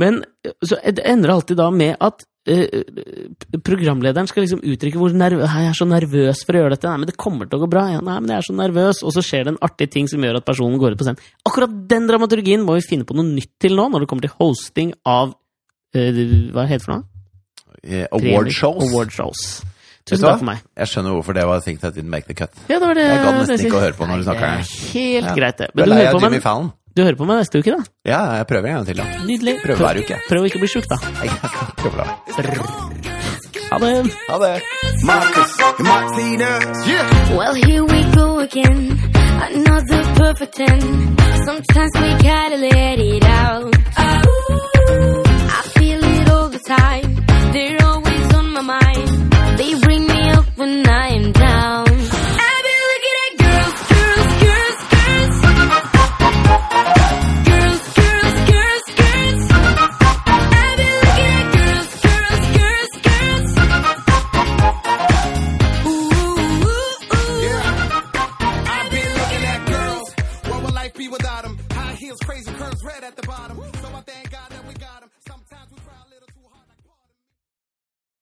S2: Men eh, så det ender alltid da med at eh, eh, programlederen skal liksom uttrykke hvor nervøs Jeg er så nervøs for å gjøre dette. Nei, men det kommer til å gå bra. Ja, nei, men jeg er så nervøs. Og så skjer det en artig ting som gjør at personen går ut på scenen. Akkurat den dramaturgien må vi finne på noe nytt til nå, når det kommer til hosting av eh, Hva heter det for noe?
S1: Eh, Award
S2: Premier-
S1: shows.
S2: Award shows.
S1: Vet
S2: Tusen
S1: du hva?
S2: takk for meg.
S1: Jeg skjønner hvorfor det var things that didn't make the cut.
S2: Ja, det var det.
S1: Jeg gadd nesten
S2: det-
S1: ikke å høre på når du
S2: Nei,
S1: snakker her.
S2: Det er helt
S1: Ja.
S2: greit, det. Men
S1: Du er
S2: du
S1: lei
S2: hører,
S1: av
S2: på
S1: Jimmy
S2: meg,
S1: Fallon?
S2: du hører på meg neste uke, da?
S1: Ja, jeg prøver en gang til, da.
S2: Nydelig.
S1: Prøv hver uke.
S2: Prøv å ikke bli sjuk, da.
S1: Jeg prøver da.
S2: Ha det.
S1: Ha det.
S3: Marcus and Martinez. Yeah.
S4: Well, here we go again. Another perfect 10. Sometimes we gotta let it out. I feel it all the time. They're always on my mind. They bring me up when I am down. I've been looking at girls, girls, girls, girls. Girls, girls, girls, girls. I've been looking at girls, girls, girls, girls. Ooh, ooh, ooh.
S3: I've been looking at girls. What would life be without 'em? High heels, crazy curves, red at the bottom. So I thank God that we got 'em.